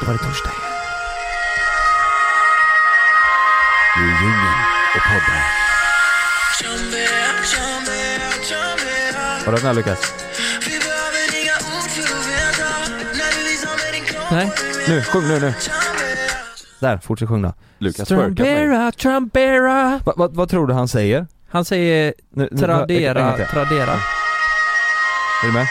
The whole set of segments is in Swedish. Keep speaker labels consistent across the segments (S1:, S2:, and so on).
S1: Då var det torsdag igen. Du är i djungeln och poddar. Har du den här Lukas? Nej, nu, sjung nu, nu. Där, fortsätt sjunga.
S2: Lukas twerkar mig.
S1: Trumbera, trumbera. Va, va, vad tror du han säger?
S3: Han säger
S1: Nu- nu- en gång
S3: tradera,
S1: till.
S3: tradera.
S1: Är du med?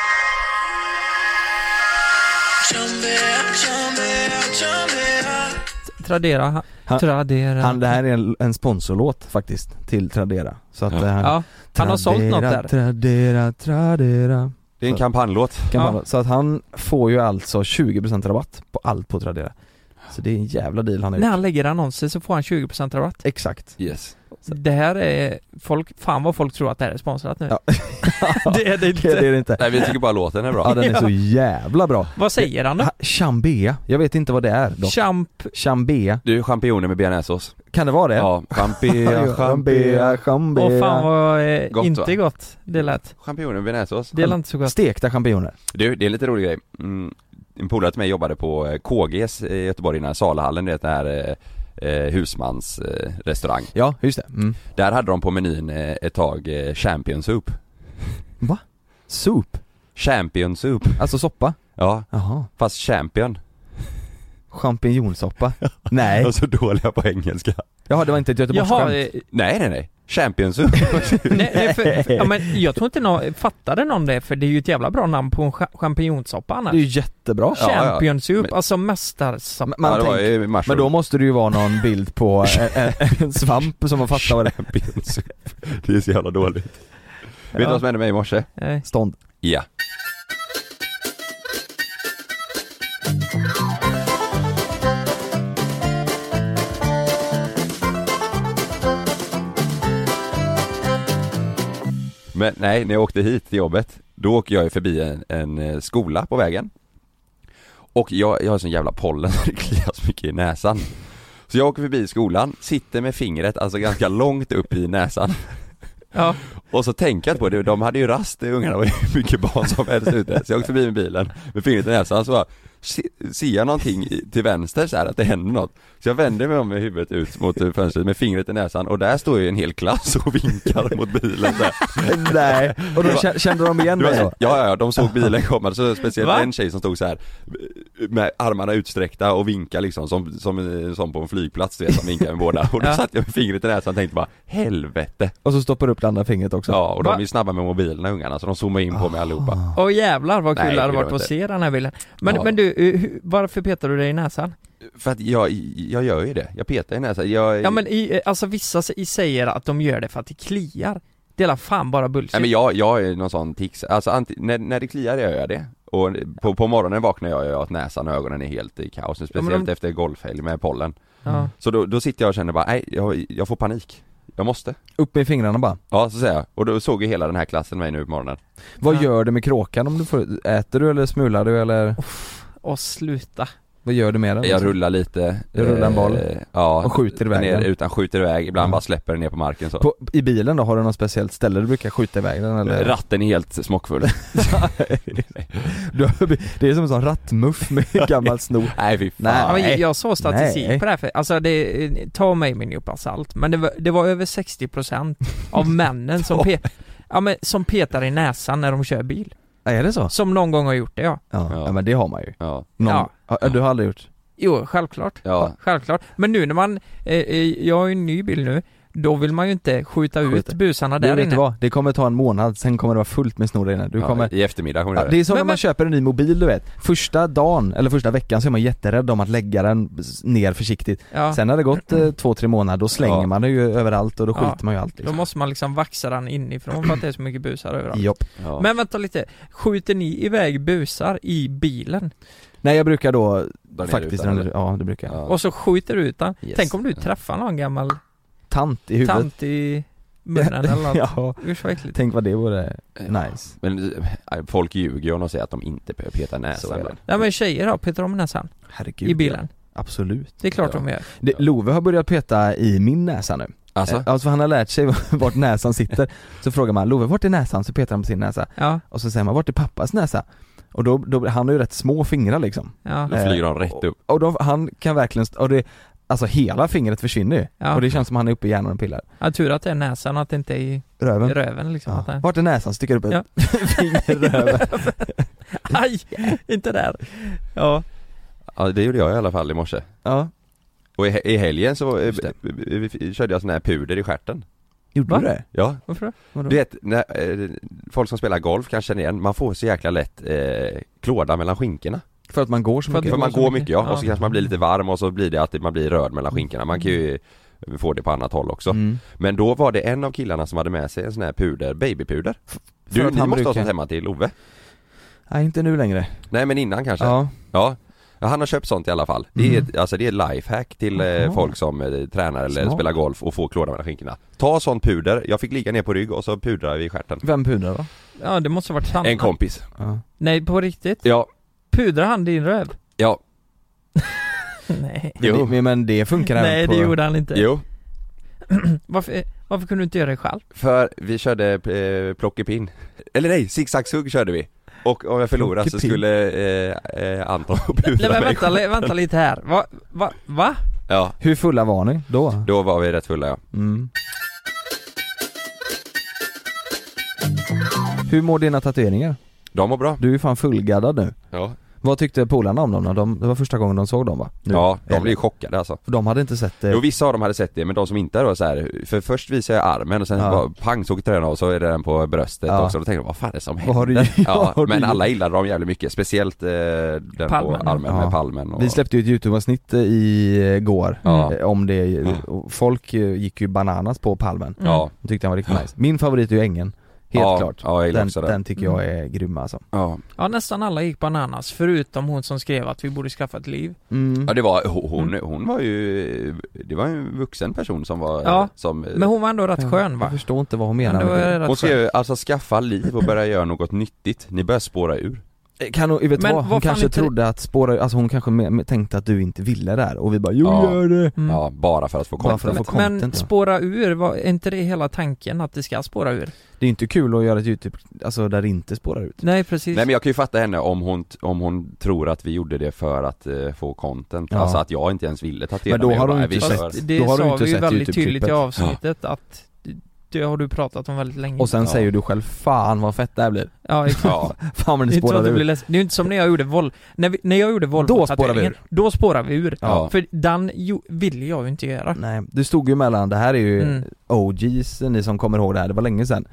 S3: Tradera, ha-
S1: Han-
S3: tradera.
S1: Han, det här är en, en sponsorlåt faktiskt, till Tradera. Så att
S2: Ja.
S1: eh, han,
S3: ja, han har sålt något där.
S1: Tradera, tradera.
S2: Det är en kampanjlåt.
S1: Kan
S3: Ja.
S1: man- Så att han får ju alltså 20% rabatt på allt på Tradera. Så det är en jävla deal han har
S3: När
S1: gjort.
S3: han lägger annonser så får han 20% rabatt.
S1: Exakt.
S2: Yes.
S3: Det här är, folk, fan vad folk tror att det här är sponsrat nu.
S1: Ja.
S3: Det är det
S1: Det är
S3: inte.
S1: det inte.
S2: Nej vi tycker bara låten är bra.
S1: Ja den är så jävla bra.
S3: Vad säger han då?
S1: Ha- Chambea, jag vet inte vad det är dock.
S3: Champ,
S1: Chambea,
S2: Du är champinjoner med bearnaisesås.
S1: kan det vara det?
S2: Ja, champia, champia.
S1: chambea.
S3: åh fan vad eh,
S2: Gott,
S3: inte
S2: va?
S3: gott det lät.
S2: Champinjoner med bearnaisesås.
S3: Det lät inte så gott.
S1: Stekta champinjoner.
S2: Du, det är en lite rolig grej. Mm, en polare till mig jobbade på eh, KGs i Göteborg innan Salahallen, du vet den här eh, eh, husmans eh, restaurang.
S1: Ja, just det. Mm.
S2: Där hade de på menyn eh, ett tag eh, champion soup.
S1: Soup,
S2: Champion soup.
S1: alltså soppa.
S2: Ja,
S1: Jaha.
S2: fast champion.
S1: Champinjonsoppa. Nej.
S2: Jag är så Alltså, dåliga på engelska.
S1: Jaha, det var inte ett
S3: Jaha,
S1: göteborgsskämt.
S3: eh,
S2: Nej nej nej, champion soup.
S3: nej, nej, för, ja, men jag tror inte någon, fattade någon det för det är ju ett jävla bra namn på en cha- champinjonsoppa
S1: Det
S3: annars.
S1: är ju jättebra.
S2: Ja, ja.
S3: Champions Soup,
S2: Men-
S3: alltså mästarsoppa.
S1: Man
S2: ja, det var
S1: tänker-
S2: ju
S1: Men då måste det ju vara någon bild på en, en, en svamp som man fattar vad det är.
S2: champion soup. Det är så jävla dåligt. Vet du vad som hände mig i morse?
S3: Nej.
S1: Stånd.
S2: Ja. Men nej, när jag åkte hit till jobbet, då åker jag ju förbi en, en eh, skola på vägen. Och jag, jag har sån jävla pollen så det kliar så mycket i näsan. Så jag åker förbi skolan, sitter med fingret alltså ganska långt upp i näsan.
S3: Ja.
S2: Och så tänker jag på det, de hade ju rast de ungarna, det var ju mycket barn som helst ute Så jag åkte förbi med bilen, med fingret i näsan så bara se- Ser jag någonting i- till vänster så här att det händer något Så jag vänder mig om med huvudet ut mot eh, fönstret med fingret i näsan och där står ju en hel klass och vinkar mot bilen så här.
S1: Nej. Och då kä- kände de igen
S2: Det var
S1: dig
S2: så,
S1: då?
S2: ja, ja, ja, de såg bilen komma, så speciellt
S3: Va?
S2: en tjej som stod så här eh, med armarna utsträckta och vinkade liksom som, som, som på en flygplats du vet, som vinkar med båda och då
S3: Ja.
S2: satt jag med fingret i näsan och tänkte bara helvete
S1: Och så stoppar upp det andra fingret också?
S2: Ja, och de
S3: Va?
S2: är ju snabba med mobilerna ungarna så de zoomar in på mig allihopa
S1: Ah.
S3: Åh jävlar vad kul
S2: Nej,
S3: det hade
S2: det
S3: varit
S2: var
S3: att
S2: inte.
S3: se den här bilden. Men,
S2: Ja.
S3: men du, eh, hur- varför petar du dig i näsan?
S2: För att jag, jag gör ju det, jag petar i näsan, jag
S3: Ja men i, eh, alltså vissa s- i säger att de gör det för att det kliar. Det är la fan bara bullshit.
S2: Nej men jag, jag är någon sån tics, alltså anti, när, när det kliar gör jag det och på, på morgonen vaknar jag och gör att näsan och ögonen är helt i kaos, speciellt
S3: de-
S2: efter golfhelg med pollen
S3: ja.
S2: Så då, då sitter jag och känner bara, nej jag, jag får panik, jag måste
S1: Upp med fingrarna bara.
S2: Ja så säger jag, och då såg ju hela den här klassen mig nu på morgonen
S1: Vad
S3: Ja.
S1: gör du med kråkan om du får, äter du eller smular du eller
S3: Och sluta.
S1: vad gör du med den?
S2: Jag rullar lite
S1: Du rullar en
S2: eh,
S1: boll?
S2: Ja,
S1: Och skjuter iväg
S2: ner,
S1: den?
S2: utan skjuter iväg, ibland
S1: Ja.
S2: bara släpper den ner på marken så
S1: På, I bilen då, har du något speciellt ställe du brukar skjuta iväg den eller?
S2: Ratten är helt smockfull
S1: Du, har- det är som en sån rattmuff med gammal snor.
S2: Nej fy fan
S1: Nej.
S3: Ja, men jag såg statistik
S1: Nej.
S3: på det här för, alltså det, eh, ta mig med en nypa salt, men det var, det var över 60% av männen som, pe, ja, men, som petar i näsan när de kör bil.
S1: Ja, Är det så?
S3: Som någon gång har gjort det ja.
S1: Ja.
S2: Ja.
S1: ja men det har man ju.
S2: Ja,
S1: Någon,
S3: Ja.
S1: ja. Du har aldrig gjort?
S3: Jo, självklart.
S2: ja,
S3: Självklart. Men nu när man, eh, eh, jag har ju en ny bil nu, då vill man ju inte skjuta ut
S1: Skjuta.
S3: busarna
S1: du
S3: där
S1: vet du
S3: inne.
S1: vad? Det kommer ta en månad, sen kommer det vara fullt med snor där inne. Du
S2: ja,
S1: kommer...
S2: i eftermiddag kommer
S1: Ja,
S2: det,
S1: det är som
S3: Men-
S1: när man
S3: men-
S1: köper en ny mobil du vet. Första dagen, eller första veckan så är man jätterädd om att lägga den s- ner försiktigt.
S3: Ja.
S1: Sen när det gått eh, två, tre månader då slänger
S2: Ja.
S1: man det ju överallt och då
S3: Ja.
S1: skjuter man ju allt
S3: Då
S1: liksom.
S3: måste man liksom vaxa den inifrån för att det är så mycket busar överallt.
S1: Jopp.
S2: ja.
S3: Men vänta lite, skjuter ni iväg busar i bilen?
S1: Nej jag brukar då
S2: Där nere
S1: faktiskt,
S2: utan, eller?
S1: ja det brukar jag.
S2: Ja.
S3: Och så skjuter du ut den?
S1: Yes.
S3: Tänk om du träffar någon gammal
S1: Tant i huvudet.
S3: tant i munnen eller något?
S1: ja,
S3: Usch vad äckligt.
S1: tänk vad det vore nice.
S2: Men eh, folk ljuger ju om de säger att de inte behöver peta
S1: Så är
S2: näsan
S1: det.
S2: ibland.
S3: Ja men tjejer då, petar de näsan
S1: Herregud.
S3: i bilen?
S1: Absolut.
S3: Det är klart
S2: Ja.
S3: de gör.
S1: Det, Love har börjat peta i min näsa nu.
S2: Alltså?
S1: Eh, Alltså för han har lärt sig vart näsan sitter. Så frågar man Love vart är näsan? Så petar han på sin näsa.
S3: Ja,
S1: Och så säger man vart är pappas näsa? Och då, då han har ju rätt små fingrar liksom.
S3: ja,
S2: Då flyger de rätt upp.
S1: Och då, han kan verkligen, st- och det, alltså hela fingret försvinner ju.
S3: Ja.
S1: Och det känns som han är uppe i hjärnan och pillar.
S3: ja. Tur att det är näsan och att det inte är i
S1: Röven.
S3: röven liksom. Att
S1: Ja.
S3: det...
S1: Vart är näsan? Sticker upp ett
S3: Ja.
S1: finger i röven.
S3: Aj! Inte där. Ja.
S2: Ja, det gjorde jag i alla fall i morse.
S1: Ja.
S2: Och i, i helgen så eh,
S1: Just det.
S2: vi- vi- vi körde jag sån här puder i stjärten.
S1: Gjorde
S3: Va?
S1: du det?
S2: Ja,
S3: Varför då?
S1: Vadå?
S2: du vet, när, eh, folk som spelar golf kanske känner igen, man får så jäkla lätt eh, klåda mellan skinkorna.
S1: För att man går så
S3: För att
S1: mycket?
S2: För man
S3: så
S2: går
S3: mycket.
S2: mycket ja,
S3: Ja.
S2: och så kanske man blir lite varm och så blir det att man blir röd mellan skinkorna. Man kan ju eh, få det på annat håll också.
S1: Mm.
S2: Men då var det en av killarna som hade med sig en sån här puder, babypuder.
S1: för
S2: Du,
S1: att
S2: ni
S1: han
S2: måste ha
S1: brukar-
S2: sånt hemma till Ove?
S1: Nej inte nu längre.
S2: Nej men innan kanske?
S1: Ja. Mm.
S2: Ja, Ja, han har köpt sånt i alla fall. Det är, ett- alltså det är ett lifehack till eh,
S1: Jaha.
S2: folk som eh, tränar eller
S1: Smart.
S2: spelar golf och får klåda mellan skinkorna. Ta sånt puder, jag fick ligga ner på rygg och så pudrade vi stjärten.
S1: Vem pudrar då?
S3: Ja det måste ha varit sant.
S2: En kompis.
S1: Ja.
S3: Nej på riktigt?
S2: Ja,
S3: Pudrar han din röv?
S2: ja,
S3: Nej.
S2: Jo.
S1: Men, det, men det funkar även
S3: Nej
S1: på...
S3: det gjorde han inte.
S2: jo.
S3: Varför, varför kunde du inte göra det själv?
S2: För vi körde eh, plockepinn. Eller nej, zigzagshugg körde vi. Och om jag förlorade så
S1: Plockepinn.
S2: skulle eh, eh, Anton
S3: Nej
S2: pudra
S3: men
S2: mig.
S3: vänta, li- vänta lite här. Va? Va? va?
S2: Ja,
S1: Hur fulla var ni då?
S2: då var vi rätt fulla ja.
S1: Mm. Hur mår dina tatueringar?
S2: De var bra.
S1: Du är ju fan fullgaddad nu.
S2: Ja,
S1: Vad tyckte polarna om dem då? De, det var första gången de såg dem va? Nu.
S2: ja de
S1: Eller-
S2: blev ju chockade alltså.
S1: För de hade inte sett eh, det.
S2: Jo vissa av dem hade sett det men de som inte hade då så här, för först visade jag armen och sen
S1: Ja.
S2: bara pang så åker tröjan av och så är det den på bröstet
S1: Ja.
S2: också, då tänkte de vad fan är det som händer?
S1: Vad har du gjort?
S2: Ja,
S1: Vad har du
S2: men
S1: gjort?
S2: alla gillade dem jävligt mycket, speciellt eh, den
S3: Palmen.
S2: på armen
S1: Ja.
S2: med palmen och...
S1: Vi släppte ju ett YouTube-avsnitt eh, igår
S2: Ja.
S1: eh, om det,
S2: Ja.
S1: och folk eh, gick ju bananas på palmen.
S2: Ja,
S1: De tyckte den var riktigt nice. Min favorit är ju ängen, Mm. helt
S2: ja,
S1: klart.
S2: Ja, jag gillar
S1: Den,
S2: också den. Mm.
S1: den tycker jag är grym alltså.
S2: Ja.
S3: Ja nästan alla gick bananas, förutom hon som skrev att vi borde skaffa ett liv.
S1: Mm.
S2: ja, det var, hon, hon var ju, det var ju en vuxen person som var,
S3: Ja,
S2: som
S3: Men hon var ändå rätt skön va?
S1: Jag förstår inte vad hon
S3: Men
S1: menar
S3: det var
S1: med det.
S3: rätt
S2: hon
S3: skön.
S2: skrev alltså skaffa liv och börja göra något nyttigt, ni börjar spåra ur.
S1: Kan hon, vet du
S3: eh, Men
S1: vad, hon
S3: vad fan
S1: kanske
S3: inte-
S1: trodde att spåra, alltså hon kanske me- me- tänkte att du inte ville det här och vi bara jo
S2: Ja.
S1: gör det!
S3: Mm.
S2: Ja, bara för att få
S1: Bara för att
S2: content.
S1: få
S3: Men
S1: content ja.
S3: spåra ur, var, är inte det hela tanken att det ska spåra ur?
S1: Det är inte kul att göra ett youtube, alltså där det inte spårar ut
S3: Nej precis.
S2: Nej men jag kan ju fatta henne om hon, om hon tror att vi gjorde det för att eh, få content,
S1: Ja.
S2: alltså att jag inte ens ville tatuera
S1: Men då
S2: mig, jag
S1: har hon
S2: bara,
S1: inte
S2: vi
S1: sett
S2: kör.
S3: Fast det
S1: Då har du
S3: sa
S1: inte
S3: vi ju
S1: sett
S3: väldigt tydligt i
S1: YouTube-klippet.
S3: avsnittet att det har du pratat om väldigt länge.
S1: Och sen
S2: Ja.
S1: säger du själv 'Fan vad fett det här blir'
S3: ja, exakt.
S2: Ja,
S1: Fan vad
S3: Det
S1: det
S3: är, inte så
S1: spårar
S3: att det, blir
S1: ur
S3: läs- det är ju inte som när jag gjorde Vol... När, vi, när jag gjorde
S1: spårar
S3: Volvo-tatueringen,
S1: vi
S3: då spårar vi ur.
S2: ja.
S3: För den jo, ville jag ju inte göra.
S1: Nej, du stod ju mellan, det här är ju
S3: Mm.
S1: OGs, ni som kommer ihåg det här, det var länge sedan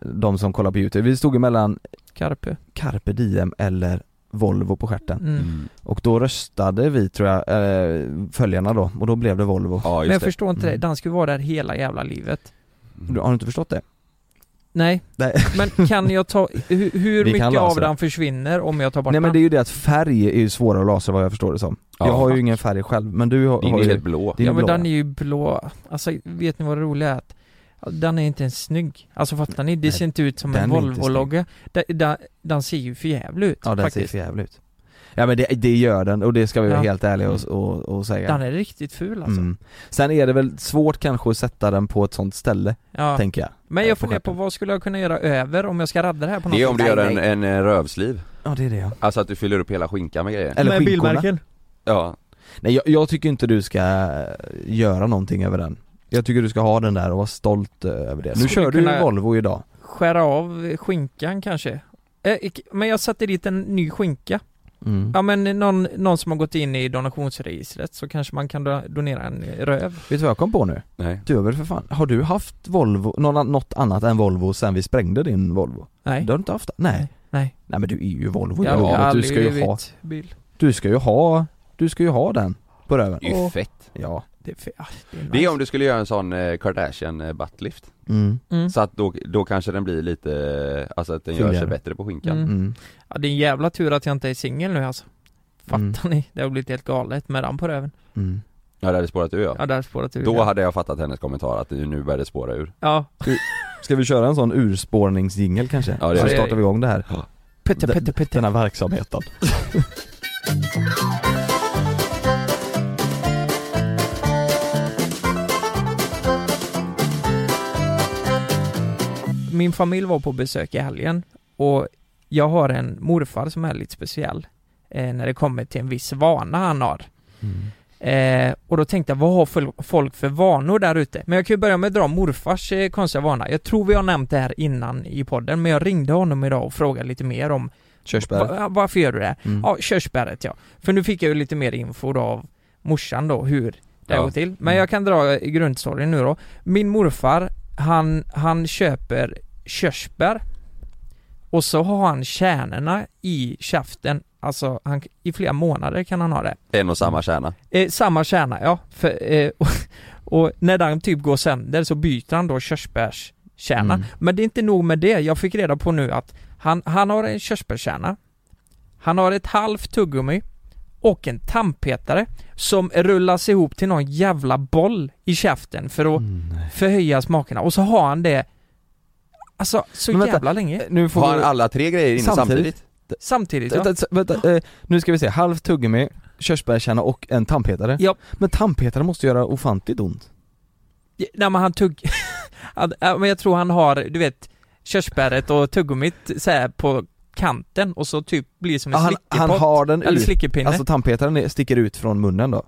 S1: De som kollar på youtube, vi stod ju mellan
S3: Carpe.
S1: Carpe Diem eller Volvo på stjärten
S3: Mm.
S2: Mm.
S1: Och då röstade vi tror jag, eh, följarna då, och då blev det Volvo
S2: ja
S3: Men jag
S2: just det.
S3: förstår inte det,
S1: Mm.
S3: den skulle vara där hela jävla livet.
S1: Du- Har du inte förstått det?
S3: Nej.
S1: Nej.
S3: Men kan jag ta, hur, hur
S1: Vi kan
S3: mycket av
S1: lösa det.
S3: den försvinner om jag tar bort
S1: Nej men det
S3: den?
S1: är ju det att färg är ju svårare att lasra vad jag förstår det som Jag har ju ingen färg själv, men du har,
S2: Din
S1: har
S2: är
S1: ju
S2: helt blå.
S1: din
S3: ja men
S1: blå.
S3: den är ju blå. Alltså vet ni vad det roliga är? Att den är inte ens snygg. Alltså fattar ni? Det
S1: Nej,
S3: ser inte ut som
S1: den är
S3: en
S1: inte
S3: Volvo-logga. Den, den, den ser ju förjävlig ut
S1: Ja den
S3: faktiskt.
S1: ser jävligt ut Ja men det, det gör den och det ska vi vara
S3: Ja. Mm.
S1: helt ärliga och, och, och säga
S3: Den är riktigt ful alltså.
S1: mm. Sen är det väl svårt kanske att sätta den på ett sånt ställe,
S3: Ja.
S1: tänker jag
S3: Men
S1: eh,
S3: jag
S1: på
S3: funderar på
S1: stjärten.
S3: vad skulle jag kunna göra över om jag ska radda det här på något
S2: Det är om du
S3: sätt?
S2: gör en, en eh, rövsliv,
S1: Ja det är det ja
S2: alltså att du fyller upp hela skinkan med grejer.
S1: Eller skinkorna
S2: Ja,
S1: Nej jag, jag tycker inte du ska eh, göra någonting över den Jag tycker du ska ha den där och vara stolt eh, över det Nu
S3: Skulle
S1: kör du
S3: kunna-
S1: ju Volvo idag
S3: Skära av skinkan kanske? Eh, Men jag satte dit en ny skinka.
S1: Mm.
S3: Ja men någon, någon som har gått in i donationsregistret så kanske man kan do- donera en röv.
S1: Vet du vad jag kom på nu?
S2: Nej.
S1: Utöver för fan, har du haft Volvo, någon, an- något annat än Volvo sen vi sprängde din Volvo?
S3: Nej.
S1: Det har du inte haft? Nej.
S3: Nej.
S1: Nej men du är ju Volvo
S3: Jag
S1: ja,
S3: har
S1: du
S3: aldrig
S1: ska ju ha,
S3: blivit bil.
S1: du ska ju ha, du ska ju ha den på röven.
S2: Det är ju fett.
S1: Ja.
S3: Det är, fe- ah, det är,
S2: Det är
S3: nice.
S2: om du skulle göra en sån eh, Kardashian eh, buttlift.
S1: Mm.
S3: Mm.
S2: Så att då, då kanske den blir lite, eh, alltså att den gör sig
S1: Fylligare.
S2: bättre på skinkan.
S3: Mm.
S1: Mm.
S3: Ja, det är en jävla tur att jag inte är singel nu alltså. Fattar ni? Det har blivit helt galet med den på röven.
S1: Mm.
S2: Ja det hade spårat ur ja.
S3: Ja, där spårat ur.
S2: Då
S3: ja.
S2: hade jag fattat hennes kommentar att det nu börjar det spåra ur.
S3: Ja.
S1: Ska vi köra en sån urspårningsjingel kanske?
S2: Ja, det
S1: Så
S2: gör vi.
S1: startar vi igång det här.
S3: Putte,
S1: Den-
S3: putte, putte.
S1: Den här verksamheten.
S3: Min familj var på besök i helgen och jag har en morfar som är lite speciell eh, när det kommer till en viss vana han har.
S1: Mm.
S3: Eh, och då tänkte jag, vad har fol- folk för vanor där ute? Men jag kan ju börja med att dra morfars eh, konstiga vana. Jag tror vi har nämnt det här innan i podden, men jag ringde honom idag och frågade lite mer om
S1: Körsbär.
S3: va, varför gör du det? här?
S1: Mm.
S3: Ja, körsbäret ja. För nu fick jag ju lite mer info då av morsan då, hur det
S2: Ja.
S3: går till. Men jag kan dra i grundstoryn nu då. Min morfar, han, han köper körsbär och så har han kärnorna i käften, alltså han, i flera månader kan han ha det.
S2: En och
S1: Mm.
S2: samma kärna.
S3: Eh, samma kärna, ja. För, eh, och, och när den typ går sönder så byter han då körsbärskärna.
S1: Mm.
S3: Men det är inte nog med det, jag fick reda på nu att han, han har en körsbärskärna, han har ett halvt tuggummi och en tandpetare som rullas ihop till någon jävla boll i käften för
S1: Mm.
S3: att förhöja smakerna. Och så har han det Alltså så
S1: Men vänta.
S3: jävla länge
S1: Nu får
S2: Har han
S1: vi-
S2: alla tre grejer inne samtidigt?
S1: Samtidigt?
S3: samtidigt ja.
S1: Vänta, s- vänta, eh, nu ska vi se, halvt tuggummi, körsbärskärna och en tandpetare.
S3: Ja.
S1: Men tandpetare måste göra ofantligt ont.
S3: Nej men han tugg... han, ja, men jag tror han har, du vet, körsbäret och tuggummit så här på kanten och så typ blir som en
S1: Han,
S3: slickepott.
S1: han har den
S3: eller
S1: ut,
S3: slickepinne.
S1: alltså tandpetaren är- sticker ut från munnen då?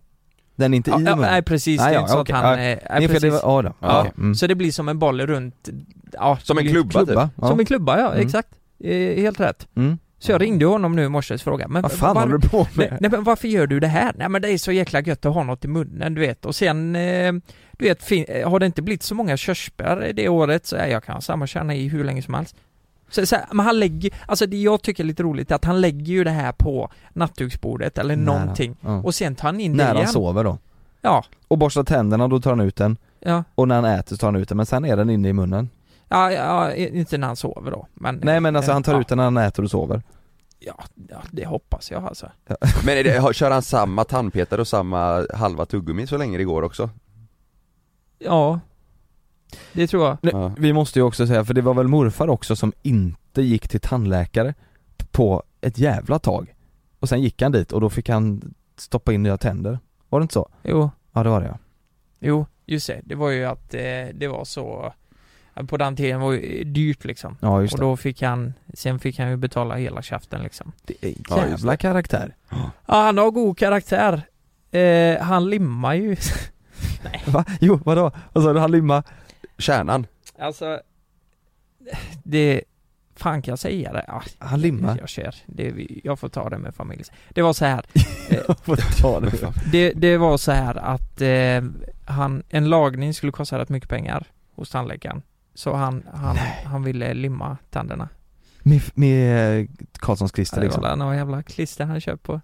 S1: Den är inte i
S3: ja,
S1: munnen?
S3: nej precis, det
S1: Nej,
S3: är
S1: ja,
S3: inte så
S1: okej,
S3: att han...
S1: ja.
S3: eh,
S1: Nej,
S3: nej,
S1: för det var,
S3: precis.
S1: ja, då.
S2: Ja,
S1: okej. Mm.
S3: Så det blir som en boll runt, ja,
S2: Som en
S3: det blir-
S2: klubba, typ?
S1: Klubba? Ja.
S3: Som en klubba ja,
S1: Mm.
S3: exakt. Eh, helt rätt.
S1: Mm.
S3: Så jag ringde honom nu i morse och frågade, men
S1: Vad fan
S3: var-
S1: håller du på
S3: Nej,
S1: med?
S3: nej men varför gör du det här? Nej men det är så jäkla gött att ha något i munnen du vet och sen eh, Du vet, fin- eh, har det inte blivit så många körsbär det året så är jag kan ha samma kärna i hur länge som helst så, så, här, Men han lägger, alltså det jag tycker är lite roligt är att han lägger ju det här på nattduksbordet eller
S1: Nära.
S3: någonting
S1: Ja.
S3: Och sen tar han in det
S1: När
S3: igen
S1: han sover då?
S3: Ja,
S1: Och borstar tänderna, då tar han ut den.
S3: ja,
S1: Och när han äter så tar han ut den, men sen är den inne i munnen.
S3: ja, ja, inte när han sover då men
S1: Nej men alltså han tar
S3: ja,
S1: ut den när han äter och sover.
S3: ja, ja, det hoppas jag alltså
S2: Men är det, har- kör han samma tandpetare och samma halva tuggummi så länge det går också?
S3: Ja Det tror jag
S1: Nej,
S2: Ja.
S1: Vi måste ju också säga, för det var väl morfar också som inte gick till tandläkare på ett jävla tag. Och sen gick han dit och då fick han stoppa in nya tänder. Var det inte så?
S3: Jo
S1: Ja det var det ja.
S3: Jo, just det. Det var ju att eh, det var så att På den tiden var ju dyrt liksom.
S1: Ja just
S3: och
S1: det.
S3: då fick han, sen fick han ju betala hela käften liksom.
S1: det är
S2: Ja, just
S1: jävla karaktär.
S3: Ja, han har god karaktär. Eh, han limmar ju.
S1: Va? Jo vadå? Vad sa du? Han limma?
S2: Kärnan?
S3: alltså, det... Fan kan jag säga det? Ja,
S1: Han limmar?
S3: jag kör. Det, vi- jag får ta det med familj. Det var så här.
S1: Eh, Vad tar du?
S3: Det, det var så här att eh, han, en lagning skulle kosta rätt mycket pengar hos tandläkaren. Så han, han, han ville limma tänderna.
S1: Med, med eh, Karlssons klister
S3: Det var
S1: liksom.
S3: väl några jävla klister han köpt på.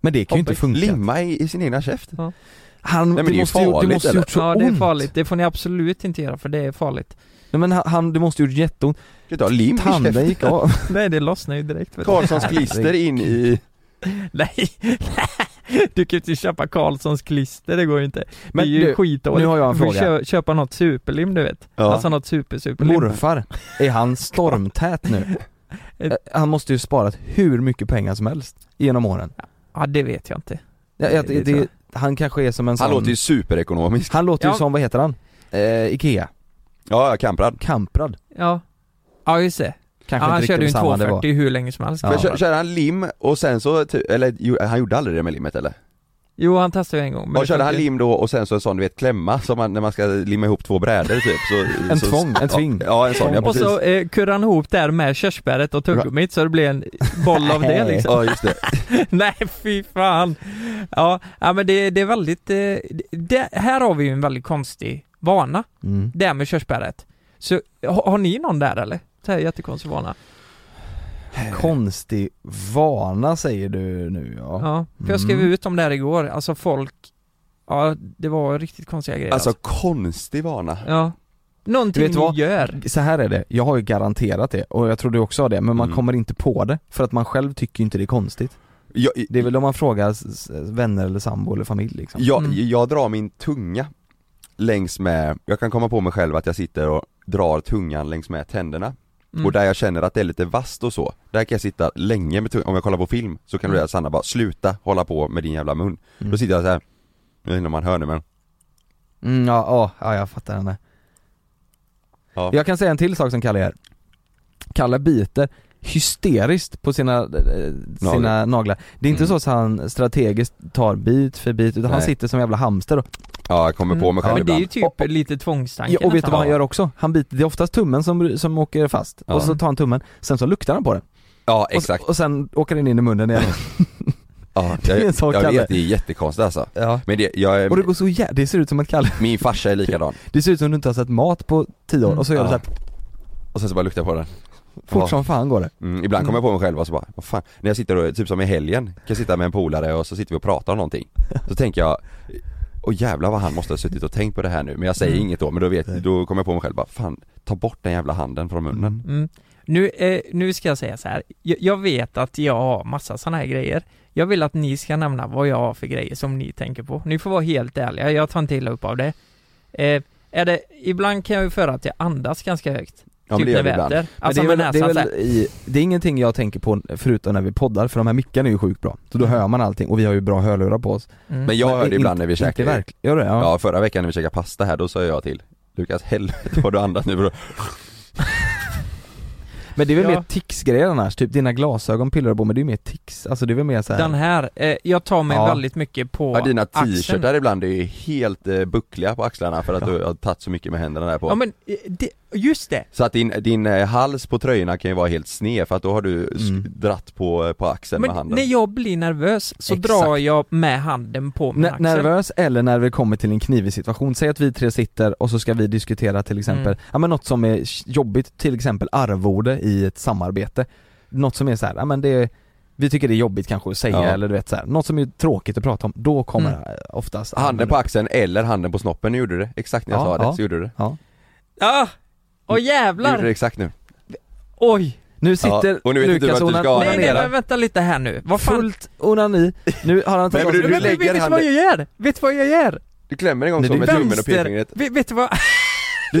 S1: Men det kan ju inte
S3: Hoppa-
S1: funka.
S2: Limma i, i sin egna käft?
S1: Han,
S2: men
S1: det,
S2: det är ju
S1: måste ju det
S2: farligt,
S1: måste
S2: eller?
S1: gjort så
S3: ja,
S1: ont.
S3: det är farligt. Det får ni absolut inte göra för det är farligt.
S1: Nej men han- han, det måste ju gjort jätteont.
S2: Du kan inte ha lim i
S1: Tanden
S2: käften?
S1: gick av.
S3: Nej, det lossnar ju direkt.
S2: Karlssons klister in i...
S3: Nej, du kan ju inte köpa Karlssons klister, det går ju inte.
S1: Men
S3: det är ju
S1: du,
S3: skitdåligt.
S1: nu har jag en
S3: Du får
S1: fråga.
S3: Kö, köpa något superlim du vet.
S2: Ja.
S3: Alltså något super superlim.
S1: Morfar, är han stormtät nu? Eh, Han måste ju sparat hur mycket pengar som helst genom åren.
S3: Ja, det vet jag inte.
S1: Jag, jag,
S3: Det-
S1: det,
S3: det tror
S1: han kanske är som en
S2: Han
S1: sån,
S2: låter ju superekonomisk.
S1: han låter ju
S3: Ja.
S1: som, vad heter han? Eh, Ikea,
S2: Ja, ja, kamprad.
S1: Kamprad.
S3: Ja. Ja just det. Ja,
S1: Kanske
S3: han
S1: inte
S3: körde ju
S1: riktigt
S3: en
S1: detsamma det var.
S3: 240 hur länge som helst.
S1: Ja.
S2: Men kör, kör han lim och sen så, ty- eller jo, han gjorde aldrig det med limmet eller?
S3: Jo, han testade ju en gång. men
S2: Och
S3: det
S2: körde han
S3: funkar ju.
S2: lim då och sen så en sån du vet klämma som man, när man ska limma ihop två brädor typ så,
S1: En
S2: så,
S1: tvång, en tving.
S2: Ja, ja en sån, ja
S3: Och
S2: precis
S3: så eh, kurrade han ihop där med körsbäret och tuggummit så det blev en boll av det liksom.
S2: Ja just det,
S3: Nej fy fan! Ja, ja men det, det är väldigt, eh, det, här har vi ju en väldigt konstig vana,
S1: Mm.
S3: det här med körsbäret. Så har, har ni någon där eller? Det här är jättekonstig vana.
S1: Konstig vana säger du nu ja.
S3: Ja, för jag skrev
S1: Mm.
S3: ut om det här igår, alltså folk, ja det var riktigt konstiga grejer.
S2: alltså konstig vana
S3: Ja. Någonting
S1: Vet du vad?
S3: ni gör.
S1: Så här är det, jag har ju garanterat det och jag tror du också har det men man
S2: Mm.
S1: kommer inte på det för att man själv tycker ju inte det är konstigt.
S2: jag,
S1: Det är väl om man frågar s- s- vänner eller sambo eller familj liksom.
S2: jag,
S3: Mm.
S2: jag drar min tunga längs med, jag kan komma på mig själv att jag sitter och drar tungan längs med tänderna
S3: Mm.
S2: och där jag känner att det är lite vasst och så, där kan jag sitta länge med tungan, om jag kollar på film så
S3: Mm.
S2: kan du säga Sanna bara sluta hålla på med din jävla mun
S1: Mm.
S2: Då sitter jag så här. jag vet inte om man hör nu men
S1: Mm, ja, ja, ja, jag fattar henne.
S2: Ja.
S1: Jag kan säga en till sak som Kalle gör. Kalle biter hysteriskt på sina, eh, sina naglar. Det är inte
S2: Mm.
S1: så att han strategiskt tar bit för bit utan han
S2: Nej.
S1: sitter som en jävla hamster och,
S2: Ja jag kommer
S1: Mm.
S2: på mig
S3: Ja,
S2: själv
S3: men det är ju
S2: ibland
S3: typ
S1: Och- och-
S3: lite tvångstanke
S1: och vet du
S3: nästan.
S1: vad han gör också? Han biter, det är oftast tummen som, som åker fast
S2: Ja.
S1: och så tar han tummen, sen så luktar han på den
S2: Ja
S1: och,
S2: exakt,
S1: och sen åker den in i munnen igen.
S2: ja,
S1: det är en
S2: jag,
S1: sak,
S2: jag
S1: Kalle.
S2: vet det är jättekonstigt alltså
S1: ja.
S2: Men det, jag är,
S1: Och det går så jä- det ser ut som att Kalle,
S2: min farsa är likadan
S1: det ser ut som att du inte har sett mat på tio år och så gör du
S2: Mm. Ja.
S1: såhär,
S2: och sen så bara luktar jag på den
S1: fort
S2: Ja.
S1: som fan går det.
S2: Mm, ibland kommer jag på mig själv och så bara, vad fan, när jag sitter och, typ som i helgen, kan jag sitta med en polare och så sitter vi och pratar om någonting Så tänker jag, åh jävlar vad han måste ha suttit och tänkt på det här nu, men jag säger inget då, men då vet, då kommer jag på mig själv bara, fan, ta bort den jävla handen från munnen
S3: Mm. Nu, eh, nu ska jag säga så här. Jag, jag vet att jag har massa sådana här grejer. Jag vill att ni ska nämna vad jag har för grejer som ni tänker på. Ni får vara helt ärliga, jag tar inte illa upp av det. Eh, är det, ibland kan jag ju föra att jag andas ganska högt. Typ
S2: Ja men det gör
S3: när
S2: vi
S3: vi
S2: ibland
S3: äter. Alltså
S1: men det,
S3: med
S1: är väl, det,
S3: näsan
S1: är
S3: så
S1: väl
S3: här.
S1: i, det är ingenting jag tänker på förutom när vi poddar för de här mickarna är ju sjukt bra. Så då hör man allting och vi har ju bra hörlurar på oss.
S3: Mm.
S2: Mm. Men jag hör det ibland när vi
S1: Inte
S2: käkar
S1: verkligen, gör du det? Ja.
S2: Ja förra veckan när vi käkade pasta här, då sa jag till Lukas, helvete vad du andas nu bro.
S1: Men det är väl
S3: Ja.
S1: mer tics-grejer annars, typ dina glasögon pillar du på men det är ju mer tics, alltså det är väl mer såhär
S3: Den här, eh, jag tar mig
S1: Ja.
S3: väldigt mycket på
S2: Ja, dina
S3: axeln.
S2: t-shirtar ibland är ju helt eh, buckliga på axlarna för att du har tagit så mycket med händerna där på
S3: Ja men, eh, det, just det!
S2: Så att din, din eh, hals på tröjorna kan ju vara helt sned för att då har du sk-
S1: Mm.
S2: dratt på, eh, på axeln
S3: Men
S2: med handen
S3: när jag blir nervös så
S1: Exakt.
S3: drar jag med handen på min
S1: N-
S3: axel.
S1: Nervös eller när vi kommer till en knivig situation, säg att vi tre sitter och så ska vi diskutera till exempel,
S3: Mm.
S1: ja men något som är sh- jobbigt, till exempel arvode i ett samarbete Något som är såhär, ja men det är, vi tycker det är jobbigt kanske att säga
S2: Ja.
S1: eller du vet såhär, något som är tråkigt att prata om, då kommer
S3: Mm.
S1: eh, oftast
S2: Handen på axeln eller handen på snoppen, nu gjorde du det exakt när jag
S1: Ja,
S2: sa det,
S1: ja.
S2: så gjorde du det
S3: Ah!
S2: Mm.
S3: Åh
S2: Du gjorde det
S3: jävlar!
S2: exakt nu
S3: Oj!
S1: Nu sitter
S2: Ja, och nu vet inte du
S1: Lukas
S2: vart du
S1: onan-
S2: ska.
S3: Nej, nej,
S1: onanerar,
S3: men vänta lite här nu. Vad fan?
S1: fullt onani, nu har han
S2: Nej, men du-
S3: Men
S1: glasögon.
S3: vet, vet,
S2: lägger
S3: vet du vad jag
S2: handen-
S3: gör? Vet du vad jag gör?
S2: Du klämmer en gång
S1: Nej,
S2: så
S1: det är
S2: med tummen och
S3: vänster.
S2: pekfingret
S3: Vet, vet du vad?
S2: Du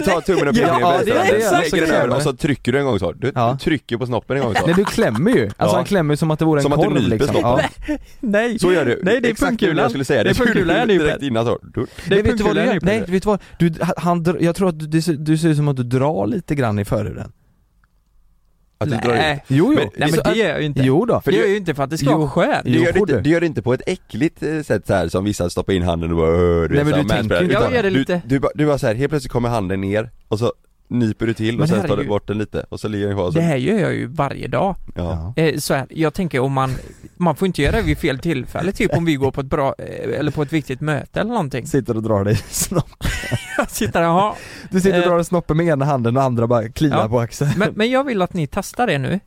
S2: tar tummen och pekfingret
S1: Ja,
S2: med vänster
S1: det är
S2: handen,
S1: exakt
S2: lägger den
S1: så.
S2: över och så trycker du en gång så, du,
S1: Ja.
S2: du trycker på snoppen en gång så
S1: Nej du klämmer ju, alltså
S2: Ja.
S1: han klämmer ju som att det vore en
S2: Som att du
S1: korv
S2: nyper
S1: liksom
S2: snoppen.
S1: Ja.
S3: Nej.
S2: Så gör du,
S3: Nej, det är
S2: exakt nu när
S3: pungkulan.
S2: jag skulle säga det,
S3: Det är pungkulan jag nyper.
S2: direkt innan så du,
S3: Det är
S1: Nej, vet du vad du
S3: pungkulan
S1: gör?
S3: jag
S1: Nej,
S3: gjorde.
S1: vet du vad? Du, han, dr- jag tror att du, det ser- du ser ut som att du drar lite grann i förhuden
S2: att du drar ut
S3: Nej.
S1: Jo, jo.
S2: Men-
S1: Så
S3: Nej Äh. men
S1: att-
S3: det gör jag ju inte.
S1: Jo då.
S3: det gör
S2: det-
S3: jag ju inte för att det ska
S1: Jo.
S3: vara skönt.
S1: Jo,
S2: du gör, det
S1: får
S2: inte,
S1: du.
S2: du gör det inte på ett äckligt eh, sätt så här som vissa stoppar in handen och bara "Åh",
S1: Nej,
S2: du vet,
S1: men
S2: så här,
S1: du tänker
S2: manspread,
S1: ju-
S2: utan
S3: Jag gör det
S2: du-
S3: lite.
S2: Du bara, du bara så här, helt plötsligt kommer handen ner och så nyper du till
S1: Men
S2: och sen tar du
S1: herregud.
S2: bort den lite och så ligger den kvar och så,
S3: Det här gör jag ju varje dag.
S2: ja.
S3: Eh, så här, jag tänker om man, man får inte göra det vid fel tillfälle, typ om vi går på ett bra, eh, eller på ett viktigt möte eller någonting.
S1: Sitter och drar dig i snoppen.
S3: Jag sitter där, "Jaha."
S1: Du sitter och
S3: Eh.
S1: drar dig i snoppen med ena handen och andra bara kliar
S3: Ja.
S1: på axeln.
S3: men, men jag vill att ni testar det nu.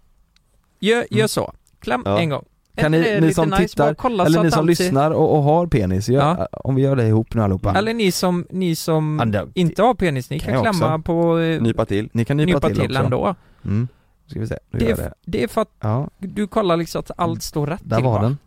S3: Gör, gör så. Kläm
S2: Ja.
S3: en gång.
S1: Kan
S3: Är
S1: ni-
S3: det
S1: ni
S3: lite
S1: som
S3: nice?
S1: tittar,
S3: Bara kolla så
S1: Eller
S3: att
S1: ni som
S3: allt ser-
S1: lyssnar och, och har penis, gör, eh,
S3: Ja.
S1: om vi gör det ihop nu allihopa.
S3: Eller ni som, ni som
S1: Ja, det-
S3: inte har penis, ni
S1: kan
S3: kan,
S1: jag
S3: klämma på, eh,
S2: nypa till
S1: Ni kan nypa,
S3: nypa till,
S1: också.
S3: ändå.
S1: Mm. Då ska vi se, nu
S3: Det
S1: gör
S3: är,
S1: jag
S3: f-
S1: det.
S3: det är för att
S1: Ja,
S3: du kollar liksom att allt står rätt
S1: Mm. där
S3: till
S1: var
S3: va?
S1: den.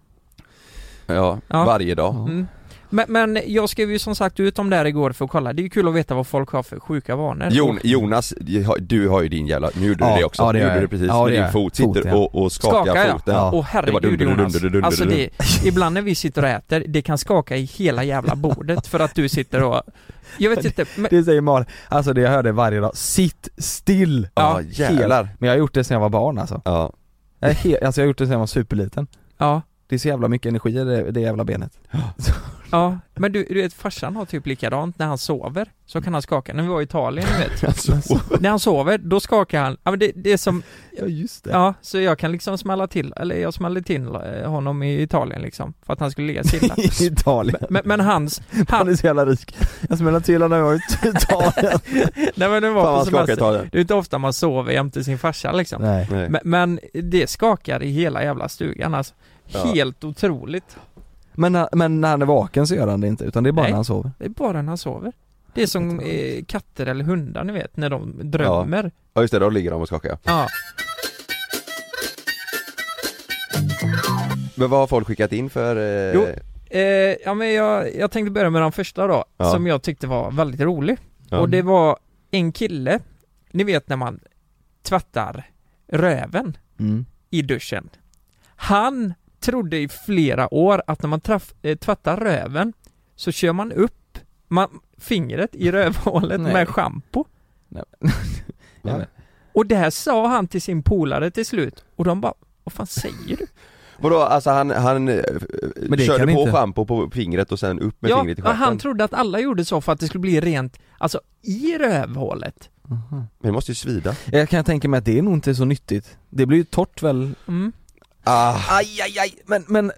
S2: Ja,
S3: Ja.
S2: varje dag.
S1: Ja.
S3: Mm. Men, men jag skrev ju som sagt ut om det här igår för att kolla, det är ju kul att veta vad folk har för sjuka vanor.
S2: Jon, Jonas, du har ju din jävla, nu gjorde du
S1: Ja,
S2: det också,
S1: ja, det
S2: nu
S1: gör
S2: gjorde
S1: jag.
S2: du precis
S1: Ja, det
S2: med
S1: gör
S2: din
S1: jag.
S2: fot,
S1: Fot,
S2: sitter
S1: ja.
S2: och, och skakar
S3: Skakar, ja.
S2: foten.
S1: Ja.
S3: Åh herregud
S2: Det var dunder,
S3: Jonas.
S2: dunder, dunder,
S3: alltså
S2: dunder.
S3: det, ibland när vi sitter och äter, det kan skaka i hela jävla bordet för att du sitter och... Jag vet inte, men,
S1: Det säger Malin, alltså det jag hör det varje dag, sitt still!
S2: Ja,
S1: Helt.
S2: jävlar.
S1: Men jag har gjort det sedan jag var barn alltså.
S2: Ja.
S1: Jag, är he- alltså jag har gjort det sedan jag var superliten.
S3: ja.
S1: Det är så jävla mycket energi i det, det jävla benet. Så
S3: Ja, men du, du vet farsan har typ likadant när han sover så kan han skaka, när vi var i Italien du vet
S2: Alltså,
S3: När han sover, då skakar han, ja men det, det är som,
S1: Ja just det.
S3: ja så jag kan liksom smälla till, eller jag smällde till eh, honom i Italien liksom För att han skulle ligga stilla
S1: I Italien.
S3: Men, men hans,
S1: Han är så jävla rik. Jag smäller till när jag är i Italien.
S3: nej men det
S2: fan
S3: var
S2: vad
S3: på
S2: skakigt
S3: semester
S2: Italien.
S3: Det är inte ofta man sover jämte sin farsa liksom
S1: Nej.
S2: Nej.
S3: men, men det skakar i hela jävla stugan alltså
S2: Ja.
S3: Helt otroligt
S1: Men, när- men när han är vaken så gör han det inte, utan det är bara
S3: Nej.
S1: när han sover.
S3: Det är bara när han sover Det är som eh, katter eller hundar ni vet, när de drömmer
S2: Ja just det, då ligger de och skakar.
S3: ja.
S2: Men vad har folk skickat in för... Eh...
S3: Jo. Eh, ja men jag, jag tänkte börja med den första då,
S2: Ja.
S3: som jag tyckte var väldigt rolig.
S2: Ja.
S3: Och det var en kille, ni vet när man tvättar röven
S1: Mm.
S3: i duschen. Han trodde i flera år att när man traff, eh, tvättar röven så kör man upp man, fingret i rövhålet
S1: Nej.
S3: med schampo.
S2: Ja.
S1: men-
S3: Och det här sa han till sin polare till slut och de bara vad fan säger du?
S2: Vadå, alltså han, han eh,
S1: Men det
S2: körde
S1: kan
S2: på
S1: inte.
S2: schampo på fingret och sen upp med
S3: ja,
S2: fingret i stjärten?
S3: han trodde att alla gjorde så för att det skulle bli rent, alltså i rövhålet.
S2: Men det måste ju svida.
S1: Jag kan tänka mig att det nog inte är så nyttigt. Det blir ju torrt väl?
S3: Mm.
S2: Ah.
S1: Aj, aj, aj. Men, men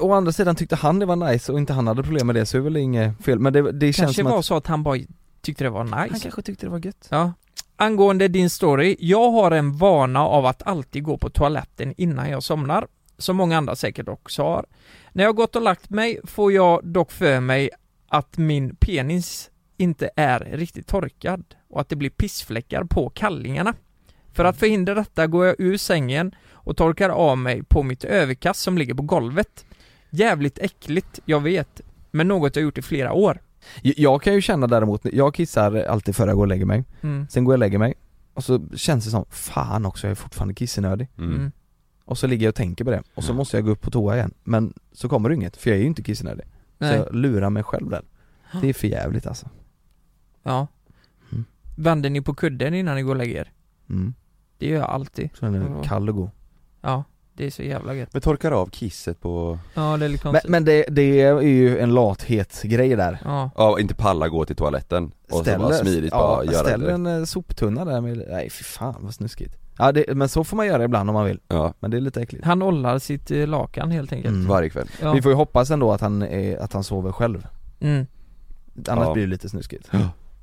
S1: å andra sidan tyckte han det var nice och inte han hade problem med det så är det väl inget fel. Men det, det känns
S3: kanske
S1: som
S3: var
S1: att
S3: så att han bara tyckte det var nice.
S1: han kanske tyckte det var gött.
S3: Ja. Angående din story, jag har en vana av att alltid gå på toaletten innan jag somnar, som många andra säkert också har. När jag gått och lagt mig får jag dock för mig att min penis inte är riktigt torkad och att det blir pissfläckar på kallingarna. För att förhindra detta går jag ur sängen och torkar av mig på mitt överkast som ligger på golvet. Jävligt äckligt, jag vet, men något jag gjort i flera år.
S1: Jag, jag kan ju känna däremot, jag kissar alltid före jag går och lägger mig.
S3: Mm.
S1: Sen går jag och lägger mig. Och så känns det som, fan också jag är fortfarande kissnödig.
S2: Mm.
S3: Mm.
S1: Och så ligger jag och tänker på det. Och så
S2: Mm.
S1: måste jag gå upp på toa igen. Men så kommer det inget, för jag är ju inte kissnödig. Så
S3: Nej.
S1: jag lurar mig själv där. Det är för jävligt alltså.
S3: Ja.
S1: Mm.
S3: Vänder ni på kudden innan ni går och lägger er?
S1: Mm.
S3: Det gör jag alltid.
S1: Så den
S3: Ja.
S1: är kall och god.
S3: Ja, det är så jävla gött.
S2: Men torkar av kisset på...
S3: Ja, det är lite
S1: Men,
S3: konstigt.
S1: men det, liksom det är ju en lathetsgrej där.
S3: Ja.
S2: Ja, inte palla gå till toaletten och så bara smidigt bara
S1: ja,
S2: göra
S1: ställ
S2: det.
S1: en eh, soptunna där med, nej fy fan vad snuskigt. Ja det, men så får man göra ibland om man vill,
S2: Ja,
S1: men det är lite äckligt.
S3: Han ollar sitt eh, lakan helt enkelt.
S1: Mm.
S2: varje kväll.
S3: Ja.
S1: Vi får ju hoppas ändå att han, är, att han sover själv,
S3: Mm.
S1: annars
S2: Ja.
S1: blir det lite snuskigt.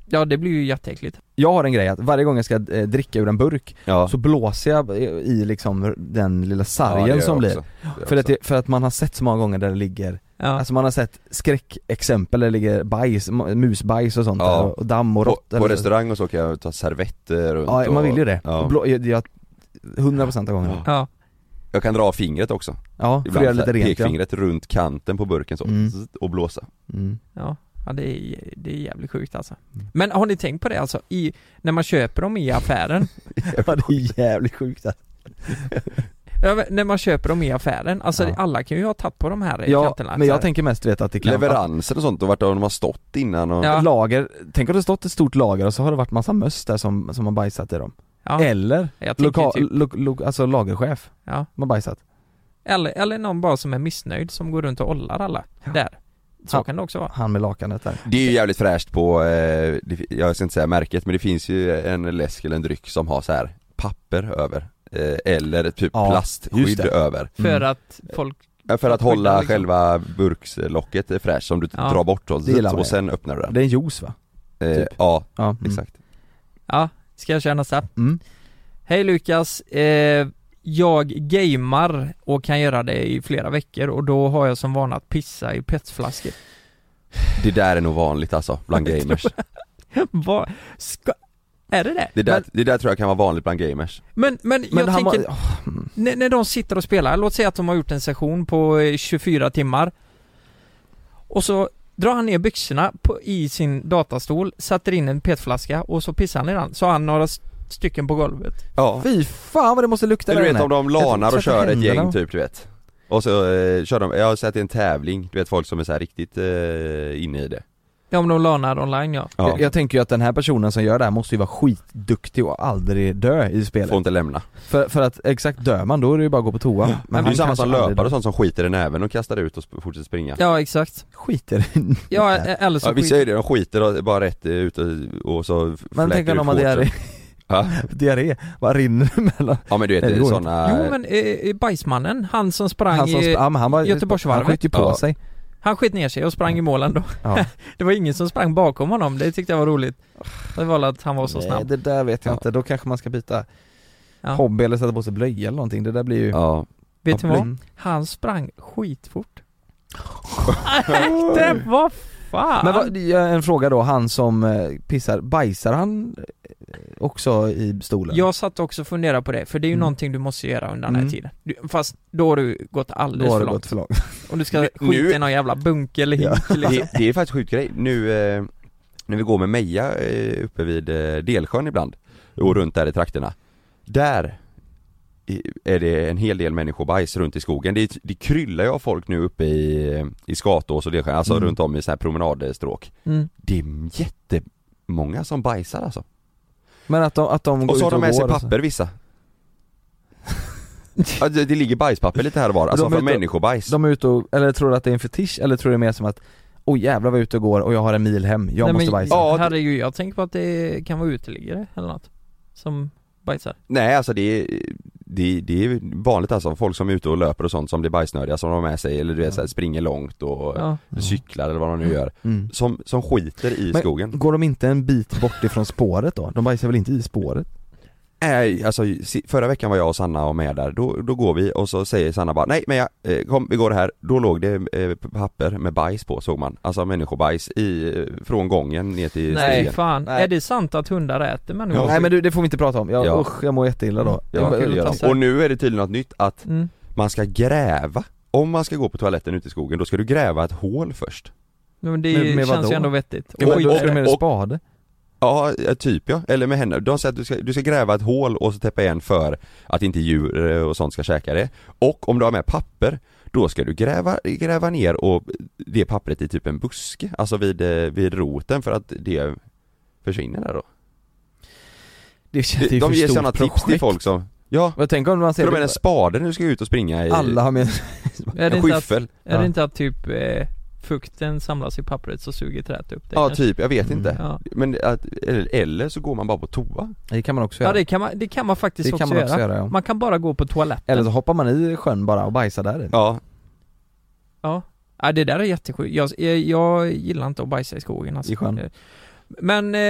S3: ja, det blir ju jätteäckligt.
S1: Jag har en grej att varje gång jag ska eh, dricka ur en burk
S2: Ja.
S1: så blåser jag eh, i liksom den lilla
S2: Ja, det gör
S1: sargen
S2: jag
S1: som blir.
S2: också. Det gör jag
S1: För att,
S2: också.
S1: det, för att man har sett så många gånger där det ligger,
S3: Ja.
S1: alltså man har sett skräckexempel där det ligger bajs, ma- musbajs och sånt
S2: Ja.
S1: där, och- och damm och
S2: på,
S1: råttor
S2: på
S1: och-
S2: restaurang och så kan jag ta servetter runt
S1: Ja,
S2: och...
S1: man vill ju det.
S2: Ja.
S1: Blå, jag, jag, 100% av gångerna.
S3: ja.
S2: Jag kan dra av fingret också.
S1: Ja, för att göra
S2: så
S1: lite
S2: här,
S1: rent ja.
S2: pekfingret runt kanten på burken så,
S1: Mm.
S2: zzz, och blåsa.
S1: Mm.
S3: Ja. Ja, det är, det är jävligt sjukt alltså. Men har ni tänkt på det alltså? I, när man köper dem i affären,
S1: Ja det är jävligt sjukt alltså.
S3: Ja, men när man köper dem i affären, alltså
S1: Ja.
S3: alla kan ju ha tagit på de här eh,
S1: Ja,
S3: kanterna.
S1: men
S3: så
S1: jag
S3: här.
S1: tänker mest vet att det kan
S2: Leveranser och sånt och vart de har stått innan och...
S3: Ja.
S1: att Lager, tänk om det stått ett stort lager och så har det varit massa möss där som, som har bajsat i dem.
S3: ja.
S1: Eller,
S3: jag tänker
S1: loka,
S3: typ,
S1: lo, lo, alltså lagerchef,
S3: ja.
S1: som har bajsat.
S3: eller, eller någon bara som är missnöjd som går runt och ollar alla. Där. Så
S1: Ja.
S3: kan det också vara.
S1: Han med lakanet där.
S2: Det är ju jävligt fräscht på, eh, det, fi- jag ska inte säga märket men det finns ju en läsk eller en dryck som har så här papper över eh, eller typ
S1: Ja, just
S2: plastskydd
S1: det.
S2: över.
S3: För
S1: Mm.
S3: att folk
S2: Ja, För att
S3: Skydda
S2: hålla
S3: liksom.
S2: själva burkslocket fräscht som du
S3: Ja.
S2: drar bort och,
S1: Det gillar man
S2: och
S1: ju.
S2: sen öppnar du den.
S1: Det är en juice va?
S2: eh,
S1: typ.
S2: Ja,
S1: Ja, mm.
S2: exakt.
S3: Ja, ska jag köra nästa?
S1: Mm.
S3: Hej Lukas, eh, jag gamer och kan göra det i flera veckor och då har jag som vana att pissa i petflaskor.
S2: Det där är nog vanligt alltså, bland
S3: Jag
S2: gamers.
S3: Vad, ska, är det det?
S2: Det där, det där tror jag kan vara vanligt bland gamers.
S3: Men, men, men
S1: Men
S3: jag
S1: han
S3: tänker,
S1: var,
S3: när, när de sitter och spelar, låt säga att de har gjort en session på eh, 24 timmar och så drar han ner byxorna på, i sin datastol, sätter in en petflaska och så pissar han i den, så har han några st- stycken på golvet.
S2: Ja.
S1: fy fan vad det måste lukta
S2: Du
S1: där
S2: vet
S1: inne.
S2: om de
S1: Jag tror inte
S2: lanar och
S1: att det
S2: kör ett
S1: händer,
S2: gäng
S1: va?
S2: typ du vet. Och så eh, kör de, jag har sett i en tävling, du vet folk som är så här riktigt eh, inne i det.
S3: Ja, om de lånar online ja.
S2: Ja,
S1: Jag, jag tänker ju att den här personen som gör det här måste ju vara skitduktig och aldrig dö i spelet.
S2: får inte lämna.
S1: För, för att exakt dör man då är det ju bara att gå på toa. Men,
S2: Men det är
S1: han
S2: ju samma
S1: kanske
S2: som
S1: aldrig
S2: löpare
S1: dör.
S2: och sånt som skiter i näven och kastar ut och sp- fortsätter springa.
S3: Ja, exakt.
S1: skiter i
S3: Ja, eller
S2: Ja,
S3: så
S2: vissa är det, de skiter och- bara rätt ut och, och så f-
S1: Men tänk
S2: fläker
S1: om
S2: ut
S1: de har diarré,
S2: shortsen. Ja.
S1: diarré, vad rinner mellan?
S2: ja men du vet,
S1: Nej,
S2: det
S1: det
S2: är
S1: går
S2: sådana...
S3: Jo men eh, bajsmannen, han som sprang
S1: Han som,
S3: i-
S1: ja, men han var,
S3: Göteborgsvarvet.
S1: Han sköt ju på
S2: Ja.
S1: sig.
S3: han skit ner sig och sprang i målen då.
S1: Ja.
S3: Det var ingen som sprang bakom honom, det tyckte jag var roligt. Det var väl att han var så
S1: Nej,
S3: snabb.
S1: det där vet jag
S2: Ja.
S1: inte, då kanske man ska byta
S3: Ja.
S1: hobby eller sätta på sig blöja eller någonting, det där blir ju...
S2: Ja.
S3: Vet du vad?
S1: Mm.
S3: Han sprang skitfort. Nej, det var fan!
S1: Men vad, det är en fråga då, han som eh, pissar, bajsar han eh, också i stolen?
S3: Jag satt också och funderade på det, för det är ju
S1: Mm.
S3: någonting du måste göra under den här
S1: Mm.
S3: tiden. Du, fast då har du gått
S1: då
S3: alldeles
S1: har
S3: för
S1: det
S3: långt.
S1: gått för långt.
S3: Om du ska
S2: Nu-
S3: skita i någon jävla bunke eller hink liksom.
S2: Det, det är faktiskt sjuk grej. Nu, eh, när vi går med Meja eh, uppe vid eh, Delsjön ibland och runt där i trakterna. Där i- är det en hel del människobajs runt i skogen. Det, det kryllar ju av folk nu uppe i, i Skatås och Delsjön, alltså
S1: Mm.
S2: runt om i så här promenadstråk.
S3: Mm.
S2: Det är jättemånga som bajsar alltså.
S1: Men att de, att de går
S2: Och så har
S1: ut
S2: de med sig
S1: går och så.
S2: papper vissa. ja, det, det ligger bajspapper lite här och var, alltså
S1: De är
S2: från
S1: ute-
S2: människobajs.
S1: De är ute och, eller tror du att det är en fetisch eller tror du det är mer som att Oj jävlar vad jag är ute och går och jag har en mil hem, jag
S3: Nej,
S1: måste
S3: men,
S1: bajsa.
S2: Ja, det-
S3: Herregud, jag tänker på att det kan vara uteliggare eller något. Som bajsar.
S2: Nej alltså det är, det, det är vanligt alltså, folk som är ute och löper och sånt som blir bajsnödiga som de har med sig eller du vet så här, springer långt och
S3: Ja.
S2: cyklar eller vad de nu gör
S1: Mm.
S2: Som, som skiter i
S1: Men-
S2: skogen
S1: Går de inte en bit bort ifrån spåret då? De bajsar väl inte i spåret?
S2: Nej alltså si- förra veckan var jag och Sanna och med där, då, då går vi och så säger Sanna bara Nej men jag, eh, kom vi går här, då låg det eh, papper med bajs på såg man Alltså människobajs i, eh, från gången ner till
S3: Nej
S2: stigen
S3: fan,
S1: Nej.
S3: är det sant att hundar äter människor?
S2: Ja.
S1: Nej men du, det får vi inte prata om, jag,
S2: Ja.
S1: usch jag mår jätteilla då.
S2: Ja,
S3: kul
S2: det
S3: att
S2: gör
S3: testa.
S2: de. och nu är det tydligen något nytt att
S3: Mm.
S2: man ska gräva Om man ska gå på toaletten ute i skogen, då ska du gräva ett hål först
S3: Men det
S1: Med- med
S3: känns
S1: vadå?
S3: ju ändå vettigt.
S1: Ja, men
S3: Oj,
S1: då
S3: det-
S1: ska du med en
S2: och-
S1: spade.
S2: Ja, ja, typ ja. Eller med henne. De säger att du ska, du ska gräva ett hål och så täppa igen för att inte djur eh, och sånt ska käka det. Och om du har med papper, då ska du gräva, gräva ner och det pappret i typ en buske, alltså vid, eh, vid roten för att det försvinner där då.
S1: Det känns ju
S2: de
S1: för
S2: ger
S1: stort
S2: sådana
S1: projekt.
S2: tips till folk som Ja,
S1: Men tänk om man
S2: för de är en
S1: ser
S2: spade när du ska ut och springa i
S1: alla har med
S3: är det
S2: en
S3: inte att,
S2: skyffel.
S3: är det
S1: Ja.
S3: inte att typ eh, fukten samlas i pappret så suger träet upp det?
S2: Ja,
S3: kanske?
S2: typ, jag vet
S1: Mm.
S2: inte.
S3: Ja.
S2: Men att, eller, eller så går man bara på toa.
S1: Det kan man också
S3: ja
S1: göra.
S3: det, kan man, det kan man faktiskt
S1: det
S3: också,
S1: kan man också
S3: göra.
S1: göra ja.
S3: Man kan bara gå på toaletten.
S1: Eller så hoppar man i sjön bara och bajsar där i.
S2: Ja,
S3: Ja, det där är jättesjukt. Jag, jag, jag gillar inte att bajsa i skogen alltså.
S1: I sjön.
S3: Eh, Men eh,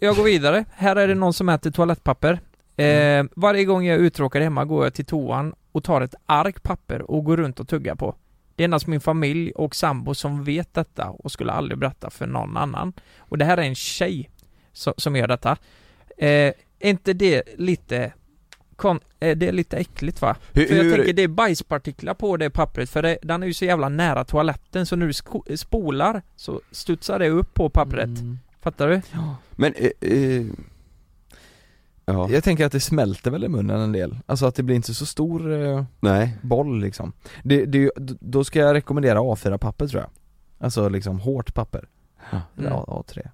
S3: jag går vidare. Här är det någon som äter toalettpapper. Eh, Varje gång jag är uttråkad hemma går jag till toan och tar ett ark papper och går runt och tuggar på. Det är endast min familj och sambo som vet detta och skulle aldrig berätta för någon annan. Och det här är en tjej som, som gör detta. Eh, är inte det lite... Kon, eh, det är lite äckligt va?
S2: Hur-
S3: för jag
S2: hur-
S3: tänker det är bajspartiklar på det pappret för det, den är ju så jävla nära toaletten så när du sko- spolar så studsar det upp på pappret.
S1: Mm.
S3: Fattar du?
S2: men... Eh, eh, ja,
S1: Jag tänker att det smälter väl i munnen en del, alltså att det blir inte så stor eh,
S2: nej.
S1: boll liksom. Det, det, är ju- d- då ska jag rekommendera A4-papper tror jag. Alltså liksom hårt papper. Eller
S3: Mm.
S1: A, A3.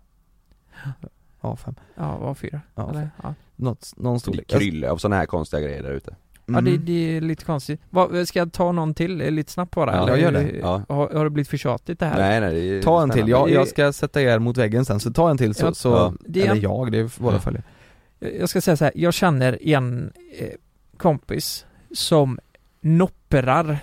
S1: A5.
S3: Ja, var fyra.
S1: Ja,
S3: Eller? Ja.
S1: Något, någon
S2: Det
S1: storlek.
S2: kryllar av sådana här konstiga grejer där ute.
S3: Ja det,
S1: Mm.
S3: det är lite konstigt. Vad, ska jag ta någon till eh, lite snabbt bara?
S2: Ja,
S3: eller?
S1: gör det.
S2: Ja.
S3: Har, har det blivit för tjatigt det här?
S2: Nej nej, det är
S1: Ta en
S2: spännande.
S1: till, jag, jag ska sätta er mot väggen sen, så ta en till
S3: Ja,
S1: så, så
S2: ja.
S3: Det är-
S1: eller jag, det är våra
S2: Ja.
S1: följare.
S3: Jag jag ska säga så här, jag känner en eh, kompis som nopprar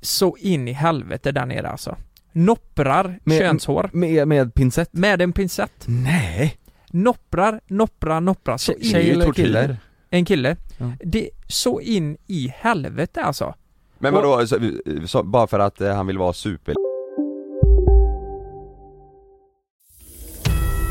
S3: så in i helvete där nere alltså. Nopprar
S1: Men-
S3: könshår
S1: Med, med pincett?
S3: med en pincett.
S1: Nej!
S3: Nopprar, nopprar, nopprar. Så in,
S2: Tjej eller kille?
S3: En kille.
S1: Ja.
S3: Det, så in i helvete alltså.
S2: Men vadå, så, så, bara för att eh, han vill vara super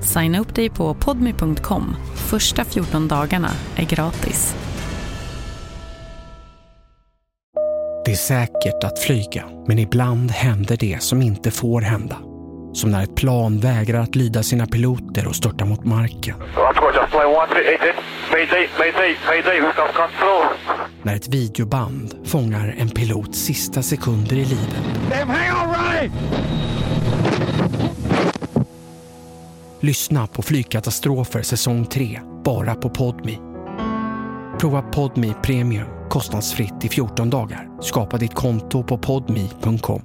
S4: Signa upp dig på podmi.com. Första 14 dagarna är gratis.
S5: Det är säkert att flyga, men ibland händer det som inte får hända. Som när ett plan vägrar att lyda sina piloter och störtar mot marken. När ett videoband fångar en pilots sista sekunder i livet. Lyssna på Flygkatastrofer säsong 3, bara på Podmi. Prova Podmi Premium kostnadsfritt i 14 dagar. Skapa ditt konto på podmi.com.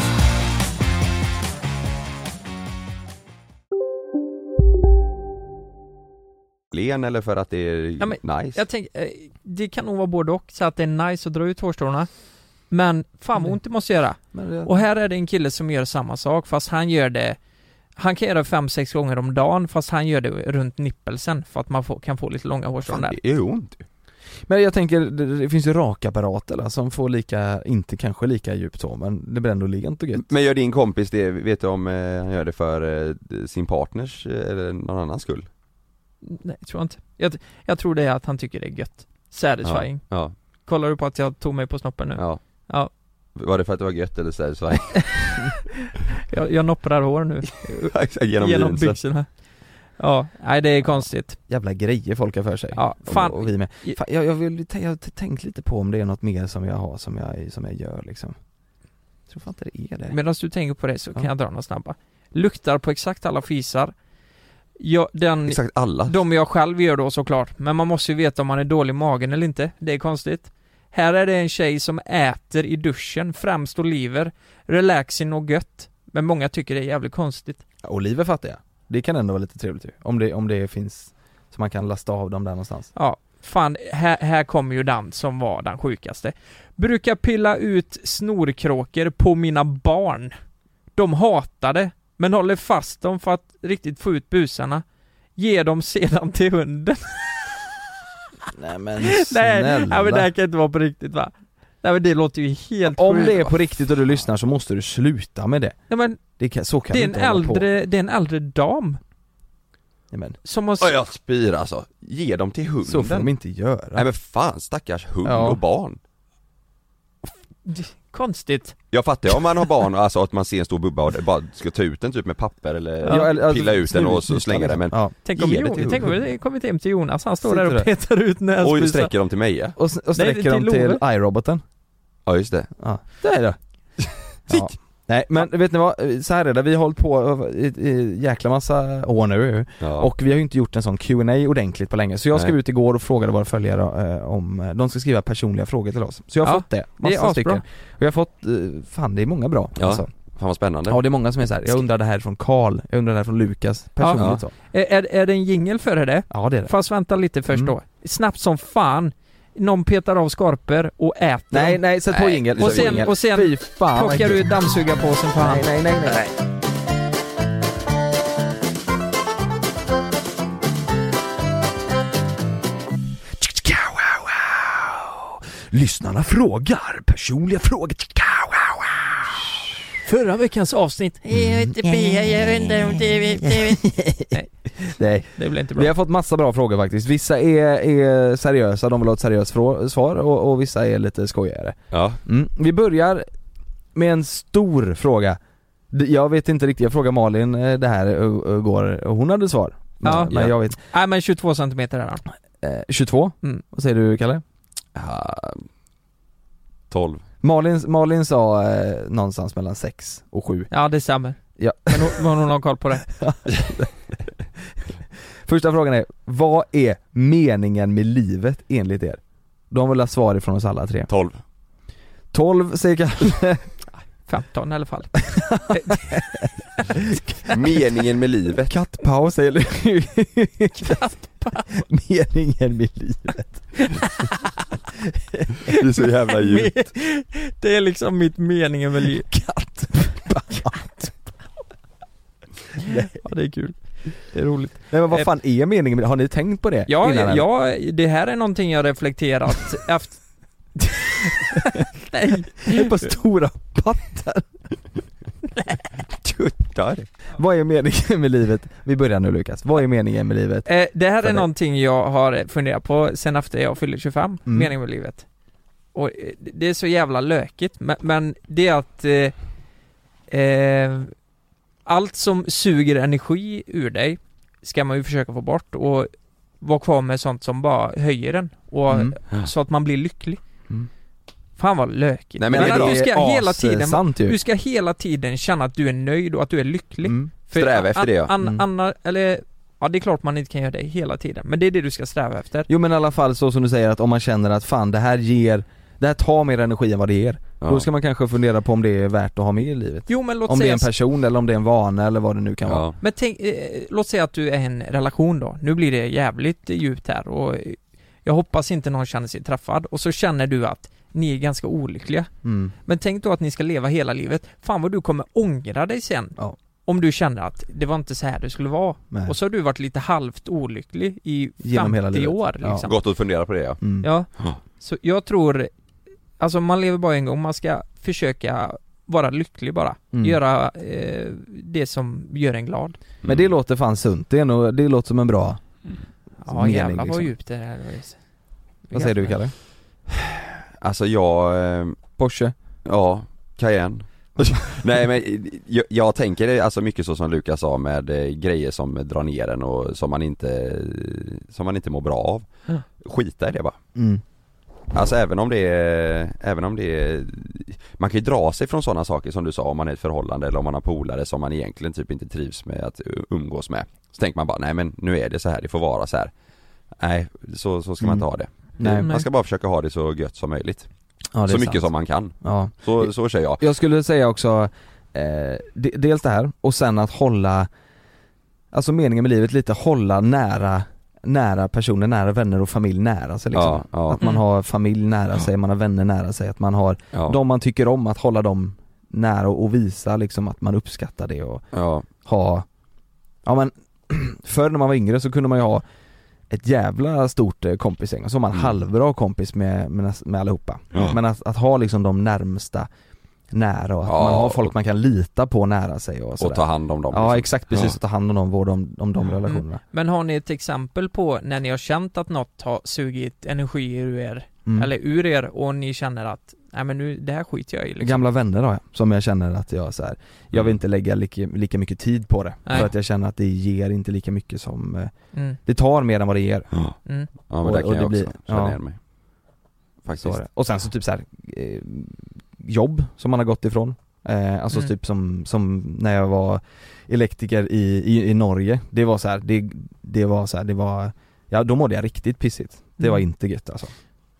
S2: Len eller för att det är
S3: Ja, men
S2: nice?
S3: Jag tänker, eh, det kan nog vara både och, så att det är nice att dra ut hårstråna Men fan
S2: Mm.
S3: vad ont det måste göra.
S2: Men det-
S3: Och här är det en kille som gör samma sak fast han gör det Han kan göra det fem sex gånger om dagen fast han gör det runt nippelsen för att man får, kan få lite långa hårstrån
S2: Fan,
S3: där.
S2: det är ont ju.
S1: Men jag tänker, det, det finns ju rakapparater där som får lika, inte kanske lika djupt så men det blir ändå lent och gött
S2: Men gör din kompis det, vet du om eh, han gör det för eh, sin partners eh, eller någon annans skull?
S3: Nej, tror jag inte. Jag, jag tror det är att han tycker det är gött. Satisfying.
S2: Ja,
S3: Kollar du på att jag tog mig på snoppen nu?
S2: ja,
S3: Ja.
S2: ja. Var det för att det var gött eller så här, så här,
S3: Jag, jag nopprar hår nu. genom
S2: genom, jeansen?
S3: byxorna. Ja, nej det är konstigt.
S1: Jävla grejer folk har för sig
S3: Ja,
S1: Fan.
S3: fan.
S1: Och, och vi med. Fan, jag, jag, vill, jag har tänkt lite på om det är något mer som jag har som jag, som jag gör liksom Jag tror fan inte det är det
S3: Medan du tänker på det så kan
S1: Ja.
S3: jag dra några snabba. Luktar på exakt alla fisar. Jag, den,
S2: Exakt alla.
S3: de jag själv gör då såklart, men man måste ju veta om man är dålig i magen eller inte. Det är konstigt. Här är det en tjej som äter i duschen, främst oliver, relaxing och gött. Men många tycker det är jävligt konstigt.
S1: Ja, Oliver fattar jag Det kan ändå vara lite trevligt ju, om det, om det finns Så man kan lasta av dem där någonstans
S3: Ja, fan, här, här kommer ju den som var den sjukaste. Brukar pilla ut snorkråkor på mina barn. De hatar det, men håller fast dem för att riktigt få ut busarna. Ge dem sedan till hunden.
S1: Nej men
S3: Nej, nej men det här kan inte vara på riktigt va? Nej men det låter ju helt
S1: Om
S3: sjukt.
S1: det är på riktigt och du lyssnar så måste du sluta med det,
S3: Nej, men
S1: det kan, så kan
S3: det,
S1: du
S3: är en
S1: inte hålla på
S3: äldre, det är en äldre dam
S1: Nej, men,
S3: som har... s-
S2: Oj, jag spyr alltså. Ge dem till hunden.
S1: Så får de inte göra
S2: Nej men fan stackars hund
S1: Ja.
S2: och barn.
S3: Det- Konstigt.
S2: Jag fattar ju om man har barn, alltså att man ser en stor bubba och det bara ska ta ut den typ med papper eller
S1: Ja, eller, alltså, liksom.
S2: pilla ut den och så
S1: snurrigt,
S2: slänga den men
S1: ja.
S3: Tänk om,
S2: Ge det
S3: jo,
S2: till
S3: tänk om
S2: hunden.
S3: det kommit hem till Jonas, han står
S1: Sitter
S3: där
S1: där.
S3: och petar ut
S1: Alltså,
S2: Oj,
S3: näsbusar.
S2: sträcker dem till mig ja.
S1: och, s- och sträcker
S3: till
S1: dem till
S3: Ove.
S1: iRoboten
S2: ja just det.
S1: Ja, där då. Ja. Nej men vet ni vad, så här är det, vi har hållit på i, i jäkla massa år nu
S2: Ja.
S1: och vi har ju inte gjort en sån Q&A ordentligt på länge så jag
S2: Nej.
S1: skrev ut igår och frågade våra följare eh, om, eh, de ska skriva personliga frågor till oss. Så jag har
S3: Ja,
S1: fått det,
S3: det är
S1: massa
S3: asbra.
S1: stycken. Och jag har fått, eh, fan det är många bra
S2: Ja.
S1: alltså.
S2: fan vad spännande.
S1: Ja det är många som är så här. jag undrar det här från Karl, jag undrar det här från Lukas, personligt
S2: Ja.
S1: så.
S3: Är, är, är det en jingel för det?
S1: Ja det är det.
S3: Fast vänta lite först
S1: Mm.
S3: då. Snabbt som fan. Någon petar av skorpor och äter
S1: Nej
S3: dem.
S1: nej, sätt på
S2: Nej.
S1: jingel.
S3: Och
S1: sätt på
S3: sen-
S1: jingel.
S3: och sen
S1: Fy fan vad
S3: Plockar
S1: äckligt.
S3: du dammsugarpåsen på hand.
S1: Nej nej nej nej. Wow, wow, wow. Lyssnarna frågar, personliga frågor. Wow, wow, wow.
S3: Förra veckans avsnitt. Jag
S1: Mm.
S3: inte be, jag undrar om det...
S1: Nej,
S3: Det blev inte bra.
S1: vi har fått massa bra frågor faktiskt. Vissa är, är seriösa, de vill ha ett seriöst frå- svar och, och vissa är lite skojigare.
S2: Ja.
S1: Mm. Vi börjar med en stor fråga. D- Jag vet inte riktigt, jag frågade Malin eh, det här ö- ö- igår och hon hade svar. Men,
S3: Ja.
S1: men jag vet
S3: Nej men 22 centimeter är han.
S1: eh, 22?
S3: Mm.
S1: Vad säger du Kalle?
S2: Ah, 12.
S1: Malin, Malin sa eh, någonstans mellan 6 och 7.
S3: Ja det stämmer.
S1: Ja.
S3: Men hon, men hon har koll på det.
S1: Första frågan är, vad är meningen med livet enligt er? De vill ha svar ifrån oss alla tre.
S2: 12.
S1: 12 säger Kalle,
S3: 15 i alla fall.
S2: Meningen med livet.
S1: kattpaus säger Lukas. Meningen med livet.
S2: Det är så jävla djupt.
S3: Det är liksom mitt meningen med livet. Katt. Ja det är kul. Det är roligt. Eh,
S1: Nej men vad fan är meningen med det? Har ni tänkt på det?
S3: Ja,
S1: innan, eller?
S3: ja, det här är någonting jag reflekterat efter... Nej.
S1: Det är på stora pattar. Tuttar. Vad är meningen med livet? Vi börjar nu Lukas. Vad är meningen med livet?
S3: Eh, det här
S1: För dig.
S3: är någonting jag har funderat på sen efter jag fyllde 25,
S1: Mm.
S3: meningen med livet. Och eh, det är så jävla lökigt, men, men det är att eh, eh, allt som suger energi ur dig ska man ju försöka få bort och vara kvar med sånt som bara höjer den och
S1: Mm.
S3: så att man blir lycklig.
S1: Mm.
S3: Fan vad lökigt.
S1: Nej, men det är
S3: att
S1: bra.
S3: du
S1: Det
S3: ska
S1: är
S3: hela tiden,
S1: assant ju.
S3: du ska hela tiden känna att du är nöjd och att du är lycklig.
S1: Sträva efter det, ja.
S3: An,
S1: Mm.
S3: anna- eller, ja det är klart man inte kan göra det hela tiden, men det är det du ska sträva efter.
S1: Jo men i alla fall så som du säger att om man känner att fan det här ger, det här tar mer energi än vad det ger. Då ska man kanske fundera på om det är värt att ha med i livet.
S3: Jo, men låt
S1: om det är
S3: säga
S1: en
S3: så-
S1: person eller om det är en vana eller vad det nu kan vara.
S3: Men tänk, eh, låt säga att du är i en relation då, nu blir det jävligt djupt här och eh, jag hoppas inte någon känner sig träffad och så känner du att ni är ganska olyckliga.
S1: Mm.
S3: Men tänk då att ni ska leva hela livet, fan vad du kommer ångra dig sen Om du känner att det var inte så här det skulle vara
S2: Nej.
S3: Och så har du varit lite halvt olycklig i
S2: Genom
S3: 50
S2: hela livet.
S3: år
S2: Ja.
S3: liksom.
S2: Gott att fundera på det, ja. Mm.
S3: ja.
S2: Ja.
S3: Så jag tror Alltså man lever bara en gång, man ska försöka vara lycklig bara
S1: Mm.
S3: Göra eh, det som gör en glad
S1: Men det låter fan sunt, det, är nog, det låter som en bra
S3: Ja
S1: mening,
S3: jävlar vad
S1: liksom.
S3: djupt det här var.
S1: Vad säger du Kalle?
S2: Alltså jag... Eh,
S1: Porsche?
S2: Ja, Cayenne Nej men jag, jag tänker det, alltså mycket så som Lukas sa med eh, grejer som drar ner en och som man inte, som man inte mår bra av
S3: Ja.
S2: Skita i det bara
S1: Mm.
S2: Alltså även om det är, även om det är, man kan ju dra sig från sådana saker som du sa om man är i ett förhållande eller om man har polare som man egentligen typ inte trivs med att eh, umgås med Så tänker man bara, nej men nu är det så här, det får vara så här Nej, så, så ska man inte ha det
S1: Mm. Nej.
S2: Man ska bara försöka ha det så gött som möjligt
S1: Ja, det är
S2: Så mycket
S1: sant.
S2: som man kan
S1: Ja.
S2: så, så säger jag
S1: Jag skulle säga också, eh, de- dels det här och sen att hålla, alltså meningen med livet lite hålla nära nära personer, nära vänner och familj nära sig liksom.
S2: Ja, ja.
S1: Att man
S2: Mm.
S1: har familj nära sig, man har vänner nära sig, att man har
S2: Ja.
S1: de man tycker om, att hålla dem nära och och visa liksom att man uppskattar det och ha Ja men förr när man var yngre så kunde man ju ha ett jävla stort eh, kompisgäng och så var man halvbra kompis med, med, näs- med allihopa
S2: Mm. Ja.
S1: Men att, att ha liksom de närmsta nära och att
S2: Ja,
S1: man har folk man kan lita på nära sig och, sådär.
S2: ta hand om dem,
S1: Ja
S2: liksom.
S1: exakt precis,
S2: Ja. Mm.
S1: och ta hand om dem, vårda om, om de relationerna
S3: Men har ni ett exempel på när ni har känt att något har sugit energi ur er
S1: Mm.
S3: Eller ur er och ni känner att Nej men nu, det här skiter jag i liksom.
S1: Gamla vänner har jag, som jag känner att jag så här, jag
S2: Mm.
S1: vill inte lägga lika, lika mycket tid på det
S3: Nej.
S1: För att jag känner att det ger inte lika mycket som, eh,
S3: Mm.
S1: det tar mer än vad det ger
S3: Mm.
S2: Ja men
S1: Och-
S2: där kan
S1: och
S2: jag
S1: blir-
S2: också känna
S1: ja.
S2: igen mig Faktiskt
S1: Så är det. Och sen så typ så här, eh, jobb som man har gått ifrån. Eh, alltså
S2: Mm.
S1: typ som, som när jag var elektriker i, i, i Norge. Det var så här, det, det var så här, det var, ja då mådde jag riktigt pissigt. Det var
S3: Mm.
S1: inte gött alltså.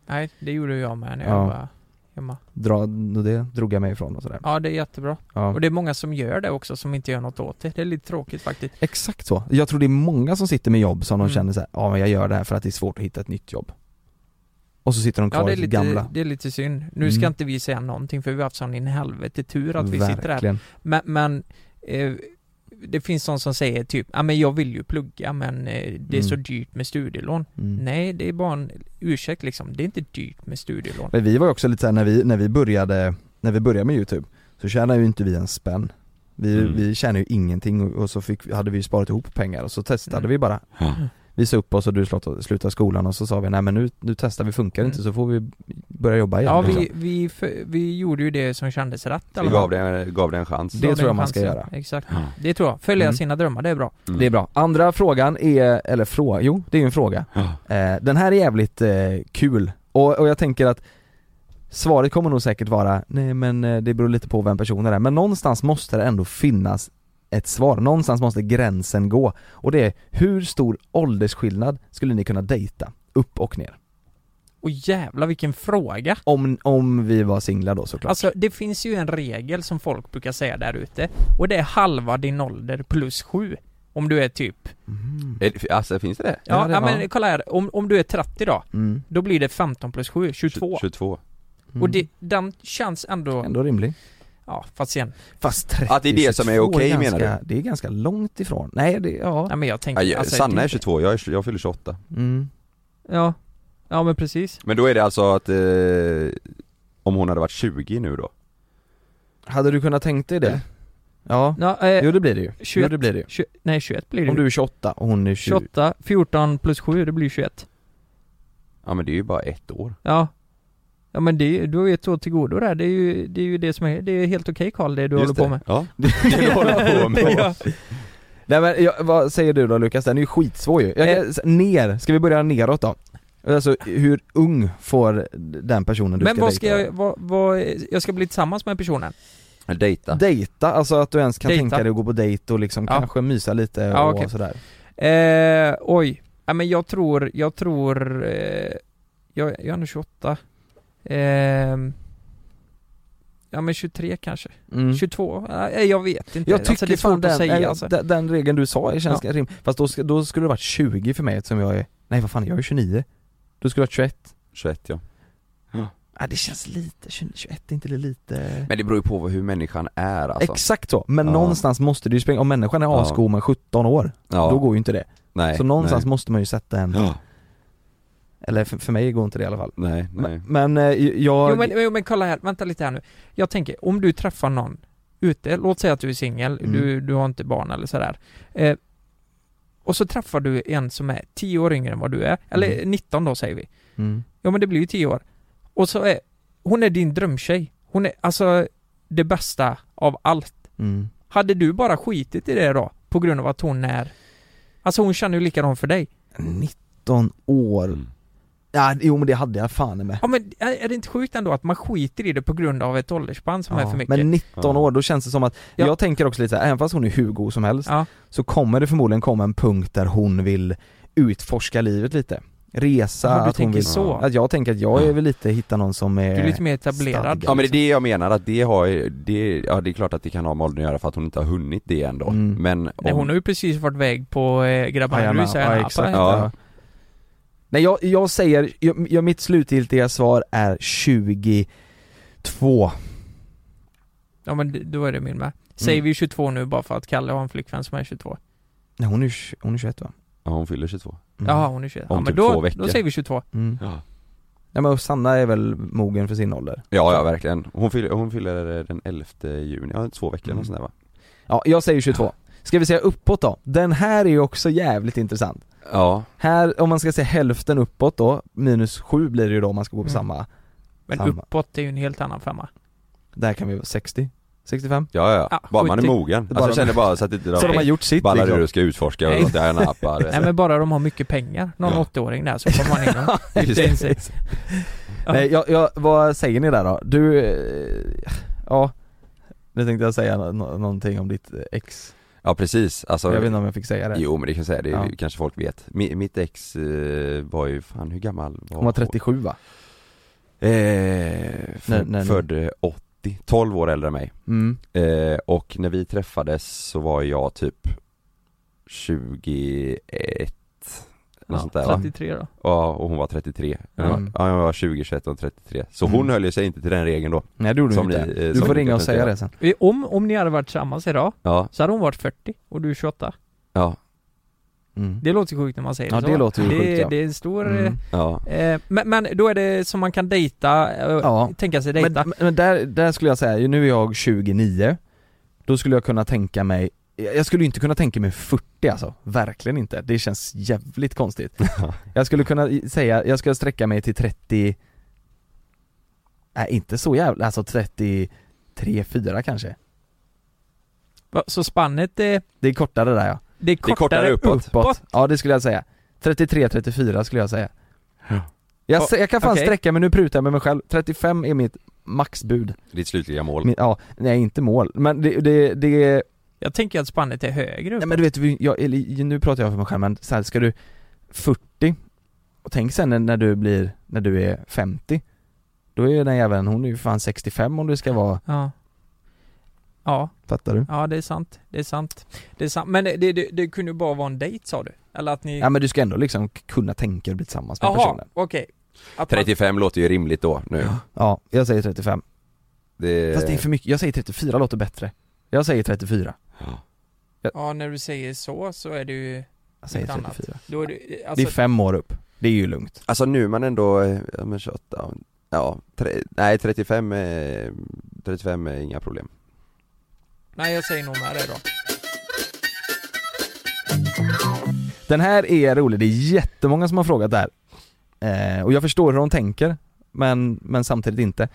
S3: Nej det gjorde jag med när jag
S1: Ja.
S3: var hemma
S1: Dra, det drog jag mig ifrån och sådär.
S3: Ja det är jättebra
S1: Ja.
S3: Och det är många som gör det också som inte gör något åt det Det är lite tråkigt faktiskt
S1: Exakt så. Jag tror det är många som sitter med jobb som de
S3: Mm.
S1: känner så här, ja men jag gör det här för att det är svårt att hitta ett nytt jobb. Och så sitter de kvar
S3: Ja det
S1: i
S3: är
S1: sitt
S3: lite,
S1: gamla.
S3: det är lite synd Nu ska
S1: Mm.
S3: inte vi säga någonting för vi har haft sån in i helvete tur att vi sitter här
S1: Verkligen.
S3: Men, men eh, Det finns sån som säger typ, ja men jag vill ju plugga men eh, det är
S1: Mm.
S3: så dyrt med studielån
S1: Mm.
S3: Nej det är bara en ursäkt liksom, det är inte dyrt med studielån
S1: Men vi var ju också lite såhär när vi, när vi började, när vi började med youtube Så tjänade ju inte vi en spänn Vi,
S2: Mm.
S1: vi tjänade ju ingenting och- och så fick, hade vi ju sparat ihop pengar och så testade
S2: Mm.
S1: vi bara
S2: Ja.
S1: Vi sa upp oss och du slå- slutade skolan och så sa vi nej men nu, nu testar vi, funkar det inte så får vi börja jobba igen
S3: Ja
S1: liksom.
S3: vi, vi, för, vi gjorde ju det som kändes rätt i
S2: Vi
S3: alla fall.
S2: gav det, gav det en chans
S1: Det tror jag man ska
S3: chansen.
S1: göra.
S3: Exakt, det tror jag. Följa
S1: Mm.
S3: sina drömmar, det är bra.
S1: Det är bra. Andra frågan är, eller fråga, jo det är ju en fråga. Eh, den här är jävligt eh, kul och, och jag tänker att svaret kommer nog säkert vara, nej men eh, det beror lite på vem personen är, men någonstans måste det ändå finnas ett svar, någonstans måste gränsen gå. Och det är, hur stor åldersskillnad skulle ni kunna dejta? Upp och ner.
S3: Och jävla vilken fråga!
S1: Om, om vi var singlar då såklart.
S3: Alltså det finns ju en regel som folk brukar säga där ute och det är halva din ålder plus sju. Om du är typ
S2: Är- Alltså finns det det?
S3: Ja, ja, men kolla här, om, om du är 30 då,
S2: Mm.
S3: då blir det 15 plus 7, 22
S2: 22
S1: Alltså,
S2: Mm.
S3: Och det, den känns ändå...
S1: mm. Ändå rimlig
S3: Ja, fast sen
S1: Fast 30
S2: Att det är det som är
S1: 22
S2: okej, menar
S1: ganska,
S2: du?
S1: Det är ganska långt ifrån, nej det, ja
S3: Nej men jag tänker,
S2: Ja, jag-
S3: alltså,
S2: Sanna
S3: det-
S2: är 22, jag, är, jag fyller 28
S1: mm.
S3: Ja, ja men precis
S2: Men då är det alltså att eh, Om hon hade varit 20 nu då?
S1: Hade du kunnat tänkt dig det? Ja,
S3: ja eh,
S1: jo det blir det ju,
S3: 21
S1: jo, det blir det ju.
S3: tju- Nej 21 blir det
S1: Om
S3: ju.
S1: du är 28 och hon är 20
S3: 28, 14 plus 7, det blir 21
S2: Ja men det är ju bara ett år
S3: Ja Ja men det, är- du har ju ett år till godo där, det är ju det, är ju det som är, det är helt okej Karl det du
S2: Just
S3: håller på
S2: det.
S3: med
S2: Ja, det håller på med
S3: Ja.
S1: Nej men jag, vad säger du då Lukas? Den är ju skitsvår ju.
S3: Eh.
S1: Jag, kan- ner, ska vi börja neråt då? Alltså hur ung får den personen du
S3: Men
S1: ska
S3: vad ska
S1: dejta?
S3: jag, vad, vad, jag ska bli tillsammans med personen?
S2: Dejta
S1: Dejta, alltså att du ens kan
S3: Dejta.
S1: tänka dig att gå på dejt och liksom
S3: Ja.
S1: kanske mysa lite
S3: Ja,
S1: och
S3: okej.
S1: sådär
S3: Eh, oj, ja, men jag tror, jag tror, eh, jag, jag är nu 28 Ehm, Ja men 23 kanske,
S1: Mm.
S3: 22, nej jag vet inte
S1: Jag
S3: Alltså,
S1: tycker
S3: det är
S1: fan
S3: svårt
S1: den,
S3: att säga
S1: eh,
S3: alltså.
S1: den, den regeln du sa känns rim, fast då, ska- då skulle det varit 20 för mig eftersom jag är, nej vad fan jag är 29 Då skulle det varit 21
S2: 21 ja
S1: Ja det känns lite, 20 21 är inte det lite
S2: Men det beror ju på hur människan är alltså
S1: Exakt så, men
S2: Ja.
S1: någonstans måste det ju springa, om människan är
S2: Ja.
S1: asko med 17 år,
S2: Ja.
S1: då går ju inte det
S2: Nej,
S1: Så någonstans
S2: nej.
S1: måste man ju sätta en
S2: Ja.
S1: Eller för, för mig går inte det i alla fall
S2: Nej, nej
S1: Men eh, jag,
S3: Jo men, jo men kolla här, vänta lite här nu. Jag tänker, om du träffar någon ute, låt säga att du är singel,
S1: Mm.
S3: du, du har inte barn eller sådär. Eh, och så träffar du en som är 10 år yngre än vad du är, eller
S1: Mm.
S3: 19 då säger vi.
S1: mm.
S3: Ja men det blir ju 10 år. Och så är, hon är din drömtjej. Hon är alltså det bästa av allt.
S1: Mm.
S3: Hade du bara skitit i det då? På grund av att hon är... Alltså hon känner ju likadant för dig.
S1: 19 år
S2: Mm.
S1: Ja, jo men det hade jag fan med
S3: Ja men är är det inte sjukt ändå att man skiter i det på grund av ett åldersspann som är för mycket?
S1: Men 19 år, då känns det som att,
S3: Ja.
S1: jag tänker också lite så här, även fast hon är hur god som helst
S3: Ja.
S1: Så kommer det förmodligen komma en punkt där hon vill utforska livet lite Resa,
S3: Ja, du
S1: att hon
S3: tänker
S1: vill,
S3: så.
S1: att jag tänker att jag är väl lite, hitta någon som är
S3: Du är lite mer etablerad.
S2: Ja men det är det jag menar, att det har ju- det, ja det är klart att det kan ha med åldern att göra för att hon inte har hunnit det ändå
S1: Mm.
S2: Men om,
S3: Nej, hon har ju precis varit väg på eh, grabbarna
S1: Ayana,
S3: nu säger
S1: ja,
S3: han.
S1: exakt,
S3: Ja.
S1: ja. Nej jag, jag säger, jag, jag, mitt slutgiltiga svar är 22
S3: ja men det- då är det min med. Säger
S1: Mm.
S3: vi 22 nu bara för att Kalle har en flickvän som är 22?
S1: Nej hon är, tj- hon är 21 va?
S2: ja, hon fyller 22
S1: Mm.
S3: Jaha hon är 21.
S2: Om
S3: Ja, men
S2: typ två
S3: då,
S2: veckor.
S3: då säger vi 22.
S1: Mm.
S2: Ja,
S1: Ja men och Sanna är väl mogen för sin ålder
S2: ja, ja verkligen, hon fyller, hon fyller eh, den 11 juni, ja två veckor
S1: Mm.
S2: eller sånt där va?
S1: Ja, jag säger 22. Ska vi säga uppåt då? Den här är ju också jävligt intressant.
S2: Ja,
S1: Här, om man ska säga hälften uppåt då, minus 7 blir det ju då om man ska gå på
S3: Mm.
S1: samma.
S3: Men
S1: Samma.
S3: uppåt är ju en helt annan femma.
S1: Där kan vi vara 60, 65.
S2: ja, ja.
S3: Ja,
S2: bara man är
S3: 70.
S2: mogen, alltså
S1: Bara-
S2: jag känner bara så att inte
S1: Så de har gjort sitt
S2: ballar
S1: liksom.
S2: ur och ska utforska och
S3: Nej.
S2: låta gärna appar
S3: Nej men bara de har mycket pengar, någon
S2: Ja.
S3: 80-åring där så kommer man in och- Det är en-
S1: Nej, jag, jag, vad säger ni där då? Du, eh, ja, nu tänkte jag säga nå- nå- någonting om ditt eh, ex.
S2: Ja precis, alltså
S1: Jag vet inte om jag fick säga det.
S2: Jo men det kan jag säga, det
S1: Ja.
S2: kanske folk vet. Mi- mitt ex eh, var ju, fan hur gammal var
S1: Hon var 37 va?
S2: Eh, f-
S1: När- när ni-
S2: född eh, 80, 12 år äldre än mig.
S1: Mm.
S2: Eh, och när vi träffades så var jag typ 21, något sånt där
S3: ja,
S2: va?
S3: 33 då.
S2: Ja, och hon var 33.
S1: Mm.
S2: Ja, jag var 20, 21 och 33. Så
S1: Mm.
S2: hon höll ju sig inte till den regeln då.
S1: Nej det gjorde hon
S2: Som
S1: inte.
S2: ni, eh,
S1: du
S2: som
S1: får
S2: ni
S1: ringa och
S2: kan
S1: säga
S2: säga.
S1: det sen.
S3: Eh, Om, om ni hade varit tillsammans idag
S2: Ja,
S3: så hade hon varit 40 och du 28.
S2: ja,
S1: Mm.
S3: Det låter ju sjukt när man säger
S1: Ja,
S3: så.
S1: det låter ju
S3: det,
S1: sjukt, ja.
S3: Det är en stor...
S1: Mm.
S2: ja.
S3: Eh, men, men då är det som man kan dejta, eh,
S1: Ja.
S3: tänka sig
S1: Men,
S3: dejta.
S1: men- men där, där skulle jag säga, nu är jag 29, då skulle jag kunna tänka mig jag jag skulle ju inte kunna tänka mig 40 alltså, verkligen inte. Det känns jävligt konstigt. Jag skulle kunna i- säga, jag ska sträcka mig till 30, nej inte så jävla, alltså 33, 4 kanske.
S3: Va, Så spannet eh, är,
S1: Det är kortare där ja.
S3: det är kortare,
S2: uppåt.
S3: uppåt.
S1: Ja det skulle jag säga. 33, 34 skulle jag säga. Jag, se- jag kan fan
S3: Okej.
S1: sträcka mig, nu prutar jag med mig själv. 35 är mitt maxbud.
S2: Ditt slutliga mål.
S1: Min, ja, nej inte mål, men det, det, det
S3: Jag tänker att spannet är högre upp.
S1: nej men du vet, vi- jag, eller, nu pratar jag för mig själv men så här, ska du 40, och tänk sen när- när du blir, när du är 50 Då är ju den jäveln, hon är ju fan 65 om du ska vara
S3: Ja. Ja.
S1: Fattar du?
S3: Ja det är sant, det är sant. Det är sant. Men det, det, det kunde ju bara vara en dejt sa du? Eller att ni...
S1: Ja men du ska ändå liksom kunna tänka och bli tillsammans med
S3: Jaha,
S1: personen
S3: okej. Att man-
S2: 35 låter ju rimligt då nu.
S1: Ja, jag säger 35
S2: Det...
S1: Fast det är för mycket, jag säger 34 låter bättre Jag säger 34
S3: Ja när du säger så, så är det ju...
S1: Jag säger
S3: något annat.
S1: 34.
S3: Då är det,
S1: Det
S3: alltså,
S1: är fem år upp, det är ju lugnt
S2: Alltså nu är man ändå, eh, ja men 28, ja, tre, nej 35, eh, 35 är inga problem.
S3: Nej jag säger nog med det då.
S1: Den här är rolig, det är jättemånga som har frågat där. Eh, och jag förstår hur de tänker, men, men samtidigt inte.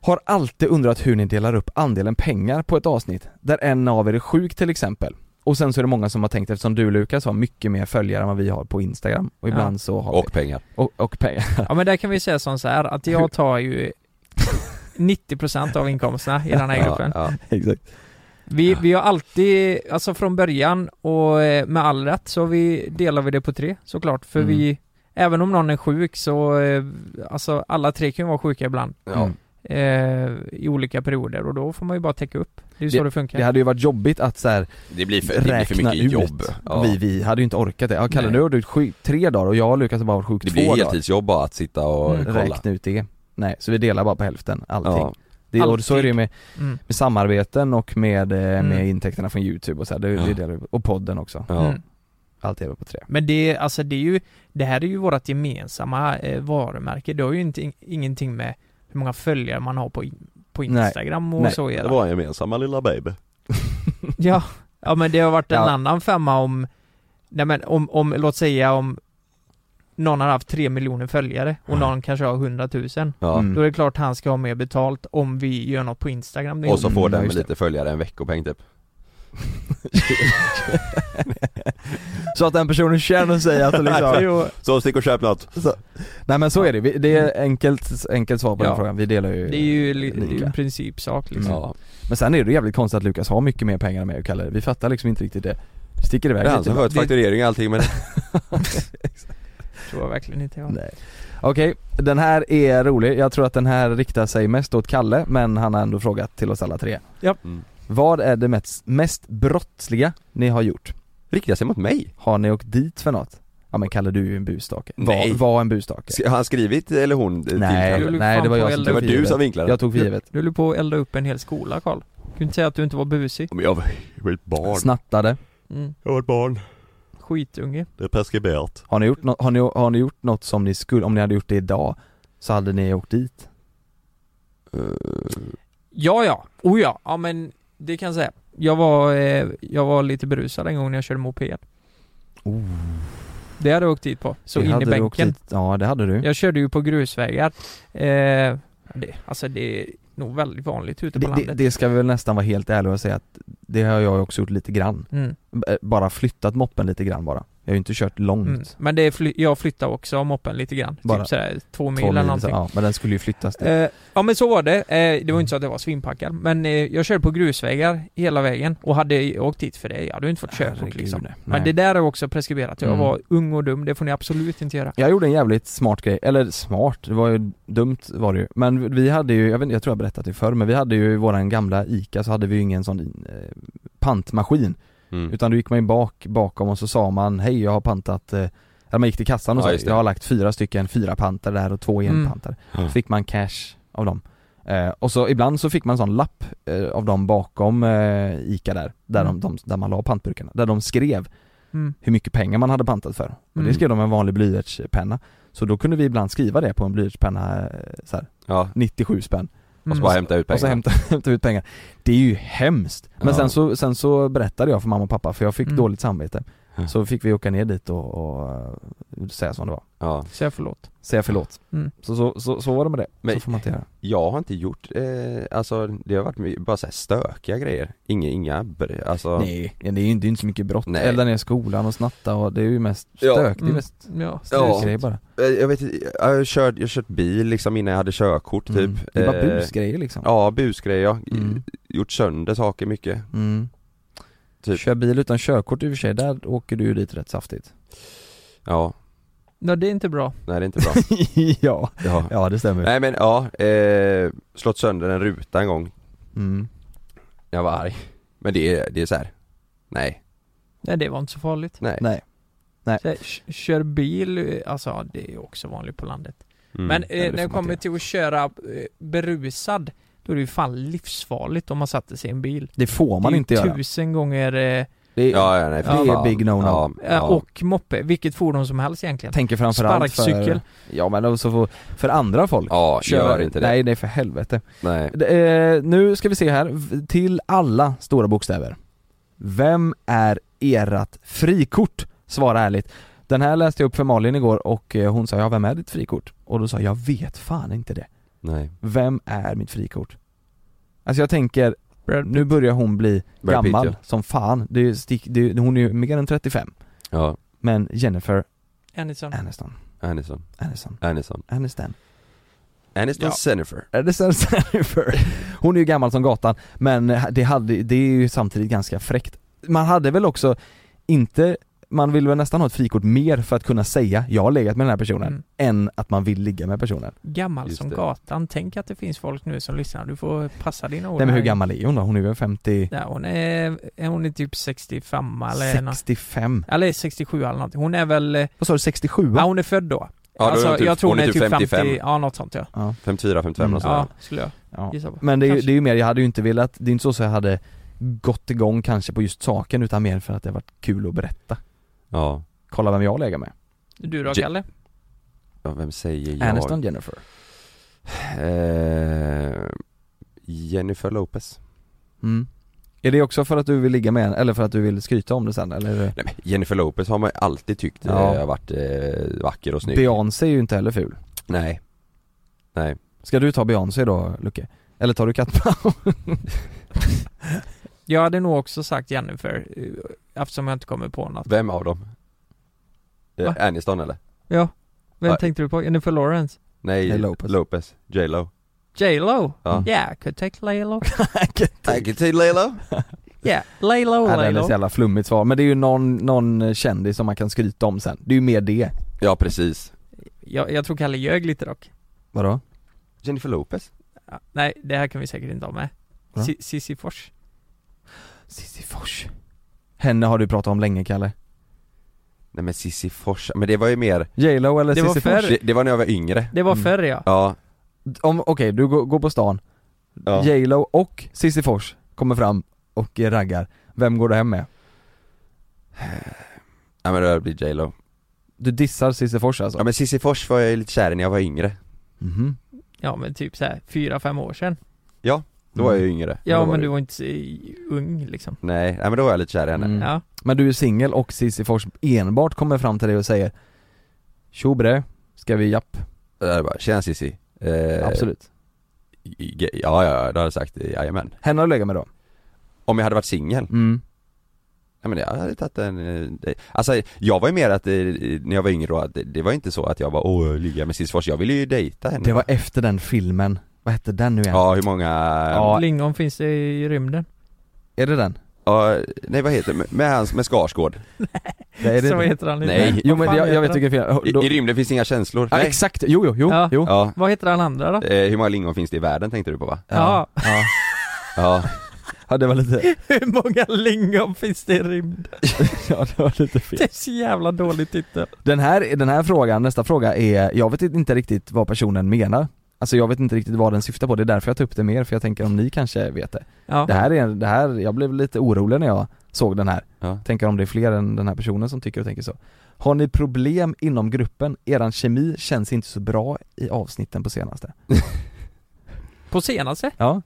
S1: Har alltid undrat hur ni delar upp andelen pengar på ett avsnitt, där en av er är sjuk till exempel. Och sen så är det många som har tänkt, eftersom du Lukas har mycket mer följare än vad vi har på Instagram, och ibland
S3: Ja.
S1: så har vi...
S2: Och pengar.
S1: Och, och pengar.
S3: Ja men där kan vi säga som så här att jag tar ju 90% av inkomsterna i den här gruppen.
S2: Ja,
S1: Exakt.
S3: Vi, vi har alltid, alltså från början och eh, med all rätt så har vi, delar vi det på tre såklart för
S1: Mm.
S3: vi Även om någon är sjuk så, eh, alltså alla tre kan ju vara sjuka ibland
S2: Ja.
S1: Mm.
S3: eh, I olika perioder och då får man ju bara täcka upp Det är ju så det, funkar
S1: Det hade ju varit jobbigt att så här,
S2: Det blir för, det blir för
S1: räkna
S2: mycket
S1: ut.
S2: jobb. Ja.
S1: Vi, vi hade ju inte orkat det. Ja, Kalle
S2: Nej.
S1: nu har du varit sjuk tre dagar och jag och Lukas har bara varit sjuk
S2: Det
S1: två
S2: blir
S1: dagar.
S2: heltidsjobb bara att sitta och
S3: Mm.
S2: kolla.
S1: räkna ut det. Nej, så vi delar bara på hälften, allting.
S2: Ja.
S1: Det, och så är det ju med,
S3: Mm.
S1: med samarbeten och med, eh,
S3: Mm.
S1: med intäkterna från youtube och så här, det,
S2: Ja.
S1: det delar vi på. Och podden också.
S2: Ja.
S3: Mm.
S1: Allt delar vi på tre.
S3: Men det, alltså det är ju, det här är ju vårt gemensamma eh, varumärke Det har ju inte, ingenting med hur många följare man har på, in- på
S1: Nej.
S3: Instagram och
S1: Nej.
S3: så att göra.
S2: Det var en gemensamma lilla baby.
S3: Ja, ja men det har varit en
S1: Ja.
S3: annan femma om, nej men om, om, låt säga om någon har haft tre miljoner följare och någon kanske har 100 000
S2: Ja.
S1: Mm.
S3: Då är det klart han ska ha mer betalt om vi gör något på Instagram det är
S2: Och så
S3: ju-
S2: får
S1: Mm,
S2: den
S1: ja,
S2: med
S1: just
S2: lite följare en veckopeng typ.
S1: så att den personen känner sig att det liksom,
S3: Jo,
S2: Så stick och köp något.
S1: Nej men så är det, Vi- det är enkelt, enkelt svar på
S3: Mm. Ja.
S1: den frågan, vi delar ju,
S3: Det är ju li- det är ju
S1: Lika.
S3: en principsak liksom
S2: Ja.
S1: Men sen är det ju jävligt konstigt att Lukas har mycket mer pengar än mig och Kalle, vi fattar liksom inte riktigt det Sticker
S2: Det
S1: iväg
S2: är han som
S1: lite
S2: sköter fakturering och allting men
S3: Tror jag verkligen inte jag
S1: Mm. Nej. Okej, den här är rolig. Jag tror att den här riktar sig mest åt Kalle, men han har ändå frågat till oss alla tre.
S3: Ja.
S2: Mm.
S1: Vad är det mest, mest brottsliga ni har gjort?
S2: riktar sig mot mig.
S1: Har ni åkt dit för något? Ja men Kalle du är ju en busstake.
S2: Nej.
S1: Var, var en busstake.
S2: Sk- Har han skrivit eller hon? eh, till
S1: Nej,
S2: Kalle?
S3: Du låg
S1: nej
S3: fan
S1: det var
S3: på
S1: jag
S3: elden.
S1: som
S2: Det
S1: tog
S2: var
S1: för
S2: du
S1: givet.
S2: som vinklade.
S1: Jag tog för givet.
S3: Du höll på att elda upp en hel skola Karl Du kan inte säga att du inte var busig
S2: Men jag var jag var ett barn.
S1: Snattade.
S3: mm.
S2: Jag var ett barn.
S3: Skitunge
S2: Det är preskriberat.
S1: Har ni, gjort no- har, ni, har ni gjort något som ni skulle, om ni hade gjort det idag, så hade ni åkt dit?
S3: Ja ja, oh ja, ja men det kan jag säga Jag var, eh, jag var lite berusad en gång när jag körde moped
S1: Oh.
S3: Det hade jag åkt dit på, så
S1: Det
S3: in
S1: hade
S3: i
S1: du åkt
S3: bänken
S1: dit. Ja det hade du.
S3: Jag körde ju på grusvägar. Eh, det, alltså det är nog väldigt vanligt ute på
S1: Det, det,
S3: landet.
S1: det ska vi väl nästan vara helt ärliga och säga att det har jag också gjort lite grann.
S3: Mm,
S1: B- bara flyttat moppen lite grann bara. Jag har ju inte kört långt.
S3: mm. Men det är fly- jag flyttade också av moppen lite grann.
S1: Bara
S3: typ sådär två mil
S1: Två
S3: eller
S1: mil,
S3: någonting.
S1: så- ja, men den skulle ju flyttas dit.
S3: Eh, ja men så var det. Eh, det var inte så att jag var svinpackad. Men eh, jag körde på grusvägar hela vägen och hade åkt dit för det. Jag hade ju inte fått körkort
S1: Herregud,
S3: liksom.
S1: nej.
S3: Men det där är också preskriberat. Jag
S1: Mm.
S3: var ung och dum. Det får ni absolut inte göra.
S1: Jag gjorde en jävligt smart grej, eller smart, det var ju dumt var det ju. Men vi hade ju, jag, vet, inte, jag tror jag berättat det förr, men vi hade ju i våran gamla ICA så hade vi ju ingen sån eh, pantmaskin.
S2: Mm.
S1: Utan då gick man ju bak, bakom och så sa man hej jag har pantat, eh, eller man gick till kassan och
S2: Ja,
S1: sa
S2: just det.
S1: jag har lagt fyra stycken fyra pantar där och två
S3: Mm.
S1: enpantar.
S2: Ja.
S1: Så fick man cash av dem. Eh, och så ibland så fick man en sån lapp eh, av dem bakom eh, ICA där, där,
S3: Mm.
S1: de, de, där man la pantburkarna, där de skrev
S3: Mm.
S1: hur mycket pengar man hade pantat för. Och
S3: Mm.
S1: det skrev de med en vanlig blyertspenna. Så då kunde vi ibland skriva det på en blyertspenna, eh, så här,
S2: Ja.
S1: 97 spänn.
S2: Och
S3: Mm.
S2: så bara hämta ut
S1: Och så
S2: pengar.
S1: hämtade, hämtade vi ut pengar. Det är ju hemskt. Men
S2: Ja.
S1: sen, så, sen så berättade jag för mamma och pappa för jag fick
S3: Mm.
S1: dåligt samvete.
S2: Ja.
S1: Så fick vi åka ner dit och, och, eh, säga som det var.
S2: Ja.
S3: Så jag förlåt.
S1: Säga förlåt.
S3: Mm.
S1: Så, så, så, så var det med det.
S2: Men-
S1: så får man inte göra.
S2: Jag har inte gjort, eh, alltså det har varit my- bara så här stökiga grejer. Inga, inga, br- alltså
S1: Nej, det är ju inte, det är inte så mycket brott.
S2: Nej.
S1: Elda ner skolan och snatta och det är ju mest
S2: Ja.
S1: stök. Det är
S3: Mm.
S1: mest
S3: Ja.
S1: stökgrejer bara.
S2: Eh, Jag vet inte, jag har kört, jag har kört bil liksom innan jag hade körkort typ
S1: Mm. Det är bara
S2: Eh,
S1: busgrejer liksom.
S2: Ja, busgrejer, ja.
S1: Mm.
S2: gjort sönder saker mycket
S1: Mm.
S2: Typ.
S1: Kör bil utan körkort i och för sig, där åker du ju dit rätt saftigt
S2: Ja,
S3: Nej, det är inte bra.
S2: nej det är inte bra
S1: Ja,
S2: ja.
S1: ja det stämmer
S2: Nej men ja, eh, slått sönder en ruta en gång
S1: mm.
S2: Jag var arg. Men det är, det är så här. nej.
S3: Nej det var inte så farligt.
S2: Nej.
S1: Nej.
S3: Så, här, k- kör bil, eh, alltså ja, det är ju också vanligt på landet.
S2: Mm.
S3: Men
S2: Ja, det
S3: eh, när
S2: får
S3: det
S2: man
S3: kommer till att köra eh, berusad, då är det ju fan livsfarligt om man sätter sig i en bil.
S1: Det får man
S3: det är ju
S1: inte göra.
S3: tusen gånger eh,
S2: Det är, ja, ja, nej, för
S1: det är
S2: fan.
S1: big no-no.
S2: Ja,
S3: eh, och moppe, vilket fordon som helst egentligen.
S1: Tänker framförallt
S3: Sparkcykel.
S1: för, ja, men också för, för andra folk.
S2: Ja, gör inte det.
S1: Nej, nej för helvete.
S2: Nej.
S1: D- Eh, nu ska vi se här, V- till alla stora bokstäver. Vem är erat frikort? Svara ärligt. Den här läste jag upp för Malin igår och eh, hon sa ja, vem är ditt frikort? Och då sa jag, jag vet fan inte det.
S2: Nej.
S1: Vem är mitt frikort? Alltså jag tänker, nu börjar hon bli
S2: Brad Pitt,
S1: gammal
S2: ja.
S1: som fan. Det är, stick, det är, hon är ju mer än 35.
S2: Ja,
S1: Men Jennifer
S3: Aniston.
S1: Aniston.
S2: Aniston.
S1: Aniston.
S2: Aniston.
S1: Aniston.
S2: Aniston
S1: Ja.
S2: Jennifer.
S1: Aniston Jennifer. Hon är ju gammal som gatan, men det, hade, det är ju samtidigt ganska fräckt. Man hade väl också inte, man vill väl nästan ha ett frikort mer för att kunna säga jag har legat med den här personen,
S3: Mm.
S1: än att man vill ligga med personen.
S3: Gammal
S2: Just
S3: som
S2: det.
S3: gatan. Tänk att det finns folk nu som lyssnar. Du får passa dina ord.
S1: Nej men hur
S3: här.
S1: gammal är hon då? Hon är väl 50,
S3: Ja, hon är, är hon är typ 65 eller nåt.
S1: 65?
S3: Eller 67 eller någonting. Hon är väl, eh,
S1: Vad sa du, 67?
S3: ja hon är född då.
S2: Ja, då är hon typ-
S3: jag tror hon är typ 55. 50,
S2: 55.
S3: ja något sånt ja.
S2: 54, 55
S1: Mm.
S2: och sådär.
S3: Ja, skulle jag
S1: Ja.
S3: gissa på.
S1: Men det är, ju,
S3: Kanske.
S1: det är ju mer, jag hade ju inte velat, det är inte så att jag hade gått igång kanske på just saken utan mer för att det har varit kul att berätta.
S2: Ja.
S1: Kolla vem jag lägger med.
S3: Du då
S2: J-
S3: Kalle?
S2: ja, vem säger jag?
S1: Aniston Jennifer.
S2: Eh, Jennifer Lopez.
S1: Mm. Är det också för att du vill ligga med en, eller för att du vill skryta om det sen eller?
S2: Nej, men Jennifer Lopez har man ju alltid tyckt eh,
S1: Ja.
S2: har varit eh, vacker och snygg.
S1: Beyoncé är ju inte heller ful.
S2: Nej. Nej.
S1: Ska du ta Beyoncé då Lucke? Eller tar du Kattman?
S3: Jag hade nog också sagt Jennifer, eh, eftersom jag inte kommer på något.
S2: Vem av dem?
S3: Va?
S2: Eh, Aniston eller?
S3: Ja, vem
S2: Ja.
S3: tänkte du på? Jennifer Lawrence?
S2: Nej,
S1: Nej, Lopez.
S2: Lopez. Lopez. J Lo.
S3: J.Lo?
S2: Ja.
S3: Yeah, I could take Laylo.
S2: I can take Laylo.
S3: Yeah, Laylo,
S1: Ja, det är ett
S3: Laylo.
S1: jävla flummigt svar, men det är ju någon, någon kändis som man kan skryta om sen. Det är ju mer det.
S2: Ja, precis.
S3: Jag, jag tror Kalle ljög lite dock.
S1: Vadå?
S2: Jennifer Lopez.
S3: Ja, nej, det här kan vi säkert inte ha med.
S1: Va?
S3: Si- Sissi Fors.
S1: Cissi Fors. Henne har du pratat om länge Kalle.
S2: Nej men Cissi Fors, men det var ju mer,
S1: J.Lo eller
S3: Det var
S1: Cissi Fors?
S3: förr.
S2: det, det var när jag var yngre.
S3: Det var
S1: Mm.
S3: förr ja.
S2: Ja.
S1: Om, okej, du går, går på stan,
S2: ja.
S1: J.Lo och Cissi Fors kommer fram och eh, raggar. Vem går du hem med?
S2: Nej men det blir J Lo.
S1: Du dissar Cissi Fors alltså?
S2: Ja men Cissi Fors var jag ju lite kär i när jag var yngre.
S1: Mhm.
S3: Ja men typ så här fyra, fem år sedan.
S2: Då var jag ju yngre.
S3: Ja
S2: Då
S3: men,
S2: var
S3: du
S2: jag-
S3: var inte så ung liksom.
S2: Nej, nej men då var jag lite kär i henne.
S1: Mm.
S3: Ja.
S1: Men du är singel och Cissi Fors enbart kommer fram till dig och säger Tjo bre, ska vi japp?
S2: Då hade jag bara, tjena Cissi. Eh,
S1: Absolut.
S2: i- ge- Ja, ja, ja, då hade jag sagt eh, jajamän.
S1: Henne har du legat med då?
S2: Om jag hade varit singel,
S1: Mm.
S2: nej men jag hade tagit en, eh, det- alltså jag var ju mer att, eh, när jag var yngre då, att det, det var inte så att jag var åh, jag ligger med Cissi Fors, jag ville ju dejta henne.
S1: Det var efter den filmen, vad hette den nu igen?
S2: Ja, hur många, ja.
S1: Ja.
S3: Lingon finns det i rymden.
S1: Är det den?
S2: nej vad heter det, Med- med hans, med Skarsgård.
S1: Nej, är det
S3: så
S1: den?
S3: heter han lite.
S2: Nej.
S1: Jo
S3: Vad
S1: men
S3: fan
S1: jag, jag
S3: heter
S1: vet
S3: han?
S1: vilken film,
S2: I,
S1: Då-
S2: I rymden finns inga känslor.
S1: ja,
S2: nej.
S1: exakt, jo jo, jo,
S3: Ja.
S1: jo.
S2: Ja,
S3: Vad heter han andra då?
S2: eh, hur många lingon finns det i världen tänkte du på va?
S3: Ja.
S1: ja.
S2: Ja,
S1: Ja, det var lite,
S3: Hur många lingon finns det i rymden?
S1: ja det var lite fel.
S3: Det är så jävla dålig titel.
S1: Den här, den här frågan, nästa fråga är, jag vet inte riktigt vad personen menar Alltså jag vet inte riktigt vad den syftar på, det är därför jag tar upp det mer för jag tänker om ni kanske vet det
S3: Ja.
S1: Det här är, det här, jag blev lite orolig när jag såg den här
S2: Ja.
S1: Tänker om det är fler än den här personen som tycker och tänker så Har ni problem inom gruppen? Eran kemi känns inte så bra i avsnitten på senaste
S3: På senaste?
S1: Ja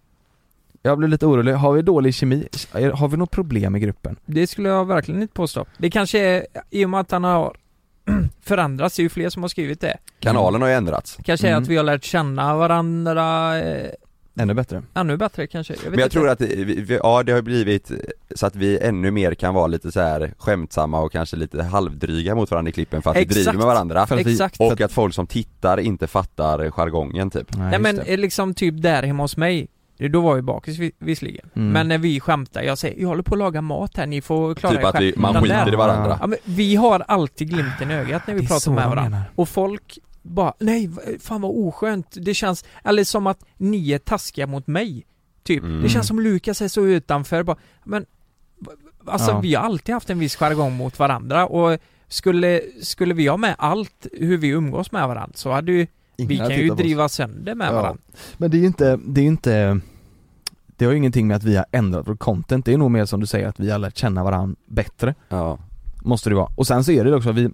S1: Jag blev lite orolig, har vi dålig kemi? Har vi något problem i gruppen?
S3: Det skulle jag verkligen inte påstå. Det kanske är, i och med att han har förändrats, det är ju fler som har skrivit det.
S2: kanalen har ju ändrats.
S3: Kanske är
S1: Mm.
S3: att vi har lärt känna varandra eh,
S1: Ännu bättre
S3: ännu bättre kanske. Jag vet
S2: Men jag
S3: inte.
S2: tror att, vi, vi- ja det har blivit så att vi ännu mer kan vara lite så här skämtsamma och kanske lite halvdryga mot varandra i klippen för att
S3: Exakt.
S2: vi driver med varandra.
S1: För att vi-
S3: Exakt.
S2: Och att folk som tittar inte fattar jargongen typ.
S3: Nej men
S1: just det.
S3: eh, liksom typ där hemma hos mig det- då var jag ju bakis vi- visserligen,
S1: Mm.
S3: men när vi skämtar, jag säger jag håller på att laga mat här, ni får klara
S2: Typ
S3: er
S2: att vi,
S3: själva."
S2: man
S3: Den
S2: skiter
S3: där-
S2: i varandra.
S3: ja, men Vi har alltid glimten i ögat när
S1: Det
S3: vi
S1: är
S3: pratar
S1: så
S3: med
S1: de
S3: varandra
S1: menar.
S3: Och folk bara, nej va- fan vad oskönt, det känns, eller som att ni är taskiga mot mig Typ.
S2: Mm.
S3: Det känns som Lukas är så utanför bara, men v- Alltså
S1: Ja.
S3: vi har alltid haft en viss jargong mot varandra och skulle, skulle vi ha med allt hur vi umgås med varandra så hade ju Vi
S1: Ingen hade
S3: kan ju
S1: tittat på oss.
S3: driva sönder med varandra.
S1: Men det är ju inte, det är ju inte Det har ju ingenting med att vi har ändrat vårt content, det är nog mer som du säger att vi har lärt känna varandra bättre
S2: Ja
S1: Måste det vara, och sen så är det ju också att vi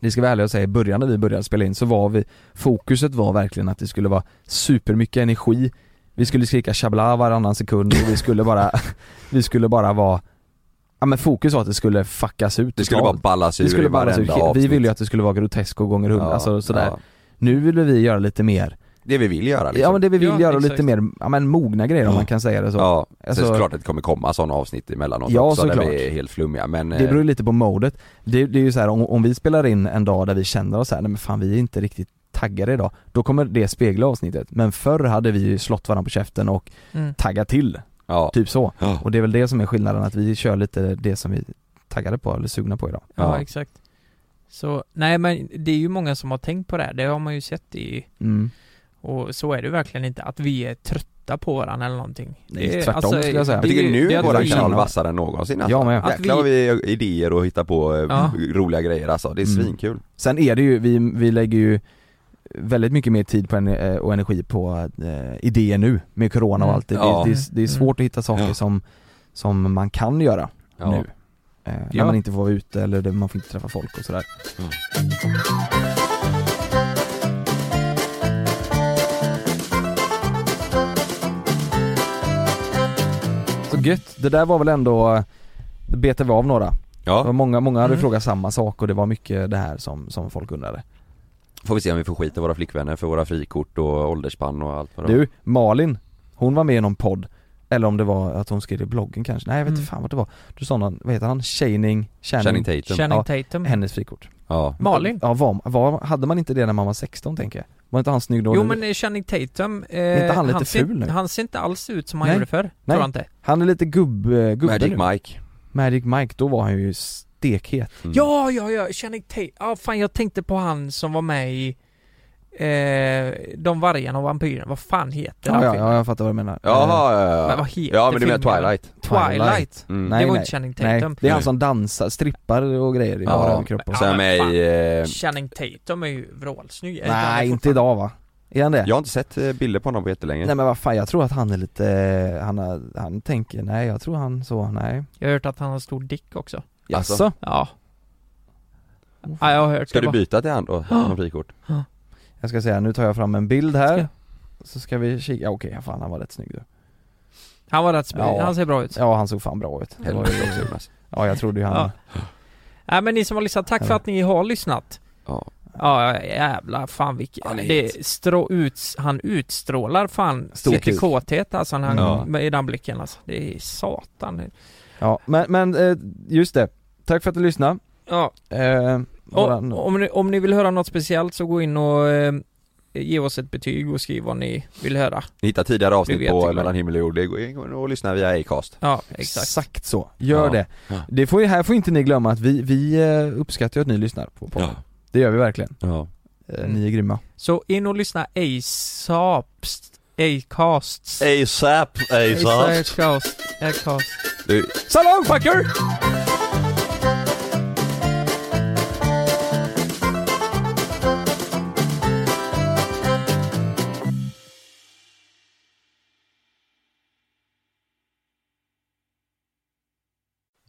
S1: Det ska vara ärliga och säga, i början när vi började spela in så var vi Fokuset var verkligen att det skulle vara supermycket energi Vi skulle skrika chabla varannan sekund och vi skulle bara Vi skulle bara vara Ja men fokus var att det skulle fuckas ut
S2: Det skulle
S1: totalt.
S2: bara ballas ur
S1: Det skulle
S2: i
S1: ballas
S2: varenda
S1: ur, vi
S2: avsnitt.
S1: ville ju att det skulle vara grotesko gånger hundra,
S2: Ja,
S1: alltså sådär
S2: ja.
S1: Nu ville vi göra lite mer
S2: Det vi vill göra liksom.
S1: Ja men det vi vill
S2: Ja,
S1: göra och
S2: exakt.
S1: lite mer, ja men mogna grejer om man kan säga det så
S2: Ja,
S1: Alltså,
S2: så såklart att det kommer komma sådana avsnitt emellanåt
S1: Ja,
S2: också där
S1: såklart.
S2: vi är helt flummiga men eh,
S1: Det beror ju lite på modet. Det, det är ju så här, om, om vi spelar in en dag där vi känner oss så här, nej men fan vi är inte riktigt taggade idag, då kommer det spegla avsnittet. Men förr hade vi ju slått varandra på käften och
S3: Mm.
S1: taggat till.
S2: Ja.
S1: Typ så. Och det är väl det som är skillnaden, att vi kör lite det som vi är taggade på eller sugna på idag.
S3: Ja, exakt. Så, nej men det är ju många som har tänkt på det här. Det har man ju sett i...
S1: Mm.
S3: Och så är det ju verkligen inte, att vi är trötta på varandra eller någonting.
S2: Nej,
S3: Det är-
S2: tvärtom
S1: skulle jag säga.
S2: Jag
S1: Det är
S2: tycker
S1: ju-
S2: nu
S1: det
S2: är
S1: är
S2: våran
S3: alltså
S1: att vi-
S2: kanal vassare än någonsin alltså.
S1: Jag med. Att
S2: Jäklar vad vi har idéer och hittar på eh,
S1: Ja.
S2: roliga grejer alltså, det är
S1: Mm.
S2: svinkul
S1: Sen är det ju, vi, vi lägger ju väldigt mycket mer tid på en, eh, och energi på eh, idéer nu med corona och
S2: Mm.
S1: allt. Det,
S2: Ja.
S1: det, det, är- det är svårt att hitta saker som, som man kan göra
S2: Ja.
S1: nu. Eh, när
S2: Ja.
S1: man inte får vara ute eller det, man får inte träffa folk och sådär.
S2: Mm.
S1: Så gött, det där var väl ändå, det betade vi av några.
S2: Ja.
S1: Det var många, många hade
S2: Mm.
S1: frågat samma sak och det var mycket det här som, som folk undrade.
S2: Får vi se om vi får skit av våra flickvänner för våra frikort och åldersspann och allt vad det var.
S1: Du, Malin, hon var med i någon podd Eller om det var att hon skrev i bloggen kanske, nej jag vet
S2: Mm.
S1: inte fan vad det var Du sa någon, vad heter han? Channing,
S2: Channing Tatum.
S3: Channing
S1: ja,
S3: Tatum.
S1: Hennes frikort
S2: Ja
S3: Malin?
S1: Ja, var, var, hade man inte det när man var 16 tänker jag? Var inte han snygg då?
S3: Jo
S1: Nu-
S3: men eh, Channing Tatum, eh,
S1: Är inte han lite
S3: ser,
S1: ful nu?
S3: han ser inte alls ut som han
S1: Nej.
S3: gjorde förr,
S1: nej. Mm.
S3: tror jag inte.
S1: Han är lite gubb, eh, gubbe
S2: Magic
S1: nu.
S2: Mike Mm.
S1: Magic Mike, då var han ju stekhet
S3: Ja, ja, ja, Channing Tatum, ja fan jag tänkte på han som var med i eh, De vargarna och vampyrerna, vad fan heter
S1: Ja,
S3: den
S1: ja,
S3: filmen?
S1: ja, jag fattar vad du menar Eh,
S2: Jaha, ja, ja, ja.
S3: Men vad heter
S2: Ja, men du menar
S3: filmen?
S2: Twilight.
S3: Twilight?
S2: Mm.
S3: Det var inte Channing Tatum.
S1: Nej, det är han som dansar, strippar och grejer i bara
S2: Ja,
S1: överkropp och
S2: sen
S1: så.
S2: med i... eh,
S3: Channing Tatum är ju vrålsnygg.
S1: Nej, inte idag va? Är han det?
S2: Jag har inte sett eh, bilder på honom på jättelänge
S1: Nej men vad fan, jag tror att han är lite, eh, han, har- han tänker, nej jag tror han så, nej Alltså,
S3: Jag har hört att han har stor dick också.
S2: Jaså?
S1: Jaså?
S3: Ja. Ja, jag har hört
S2: Ska
S3: det
S2: du
S3: bara.
S2: byta till han då, som frikort?
S1: Jag ska säga, nu tar jag fram en bild här Så ska vi kika, ja, okej fan han var rätt snygg du
S3: Han var rätt sp- han ser bra ut.
S1: Ja han såg fan bra ut Det var ju-
S2: Helvete också, Jonas.
S1: Ja jag trodde ju han,
S3: Nej men ni som har lyssnat, tack för att ni har lyssnat.
S2: Ja.
S3: Ja jävlar fan vilken,
S2: Han är
S3: det strå, ut, han utstrålar fan
S1: Stor
S3: lite
S1: kuk.
S3: kåthet alltså när
S1: Ja.
S3: han, i den blicken alltså. Det är satan.
S1: ja men, men eh, just det, tack för att du lyssnade
S3: Ja.
S1: eh, våran,
S3: Och, om, ni, om ni vill höra något speciellt så gå in och eh, ge oss ett betyg och skriv vad ni vill höra.
S2: Ni hittar tidigare
S3: Vi
S2: avsnitt
S3: vet
S2: på
S3: ju.
S2: Mellan himmel och jord, det går och lyssna via Acast
S3: Ja, exakt.
S1: Exakt så, gör
S2: Ja.
S1: det. det får, ju- här får inte ni glömma att vi, vi eh, uppskattar ju att ni lyssnar på podden. Det gör vi verkligen. Eh, ni är grymma.
S3: Så in och lyssna ASAPs, Acasts.
S2: ASAP,
S3: Acast, Acast.
S2: Du,
S3: So long fucker!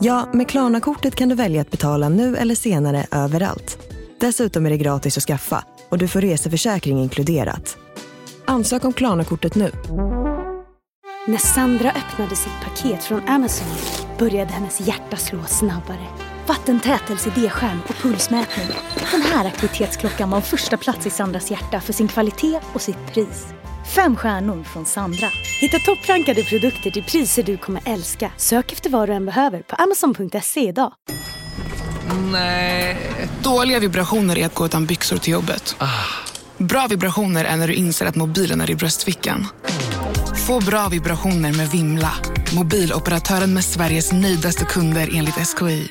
S6: Ja, med Klarna-kortet kan du välja att betala nu eller senare överallt. Dessutom är det gratis att skaffa och du får reseförsäkring inkluderat. Ansök om Klarna-kortet nu.
S7: När Sandra öppnade sitt paket från Amazon började hennes hjärta slå snabbare. Vattentätelse, D-skärm och pulsmätning. Den här aktivitetsklockan var en första plats i Sandras hjärta för sin kvalitet och sitt pris.
S6: Fem stjärnor från Sandra. Hitta topprankade produkter till priser du kommer älska. Sök efter vad du än behöver på amazon.se idag.
S5: Nej. Dåliga vibrationer är att gå utan byxor till jobbet. Bra vibrationer är när du inser att mobilen är i bröstfickan. Få bra vibrationer med Vimla. Mobiloperatören med Sveriges nöjdaste kunder enligt SKI.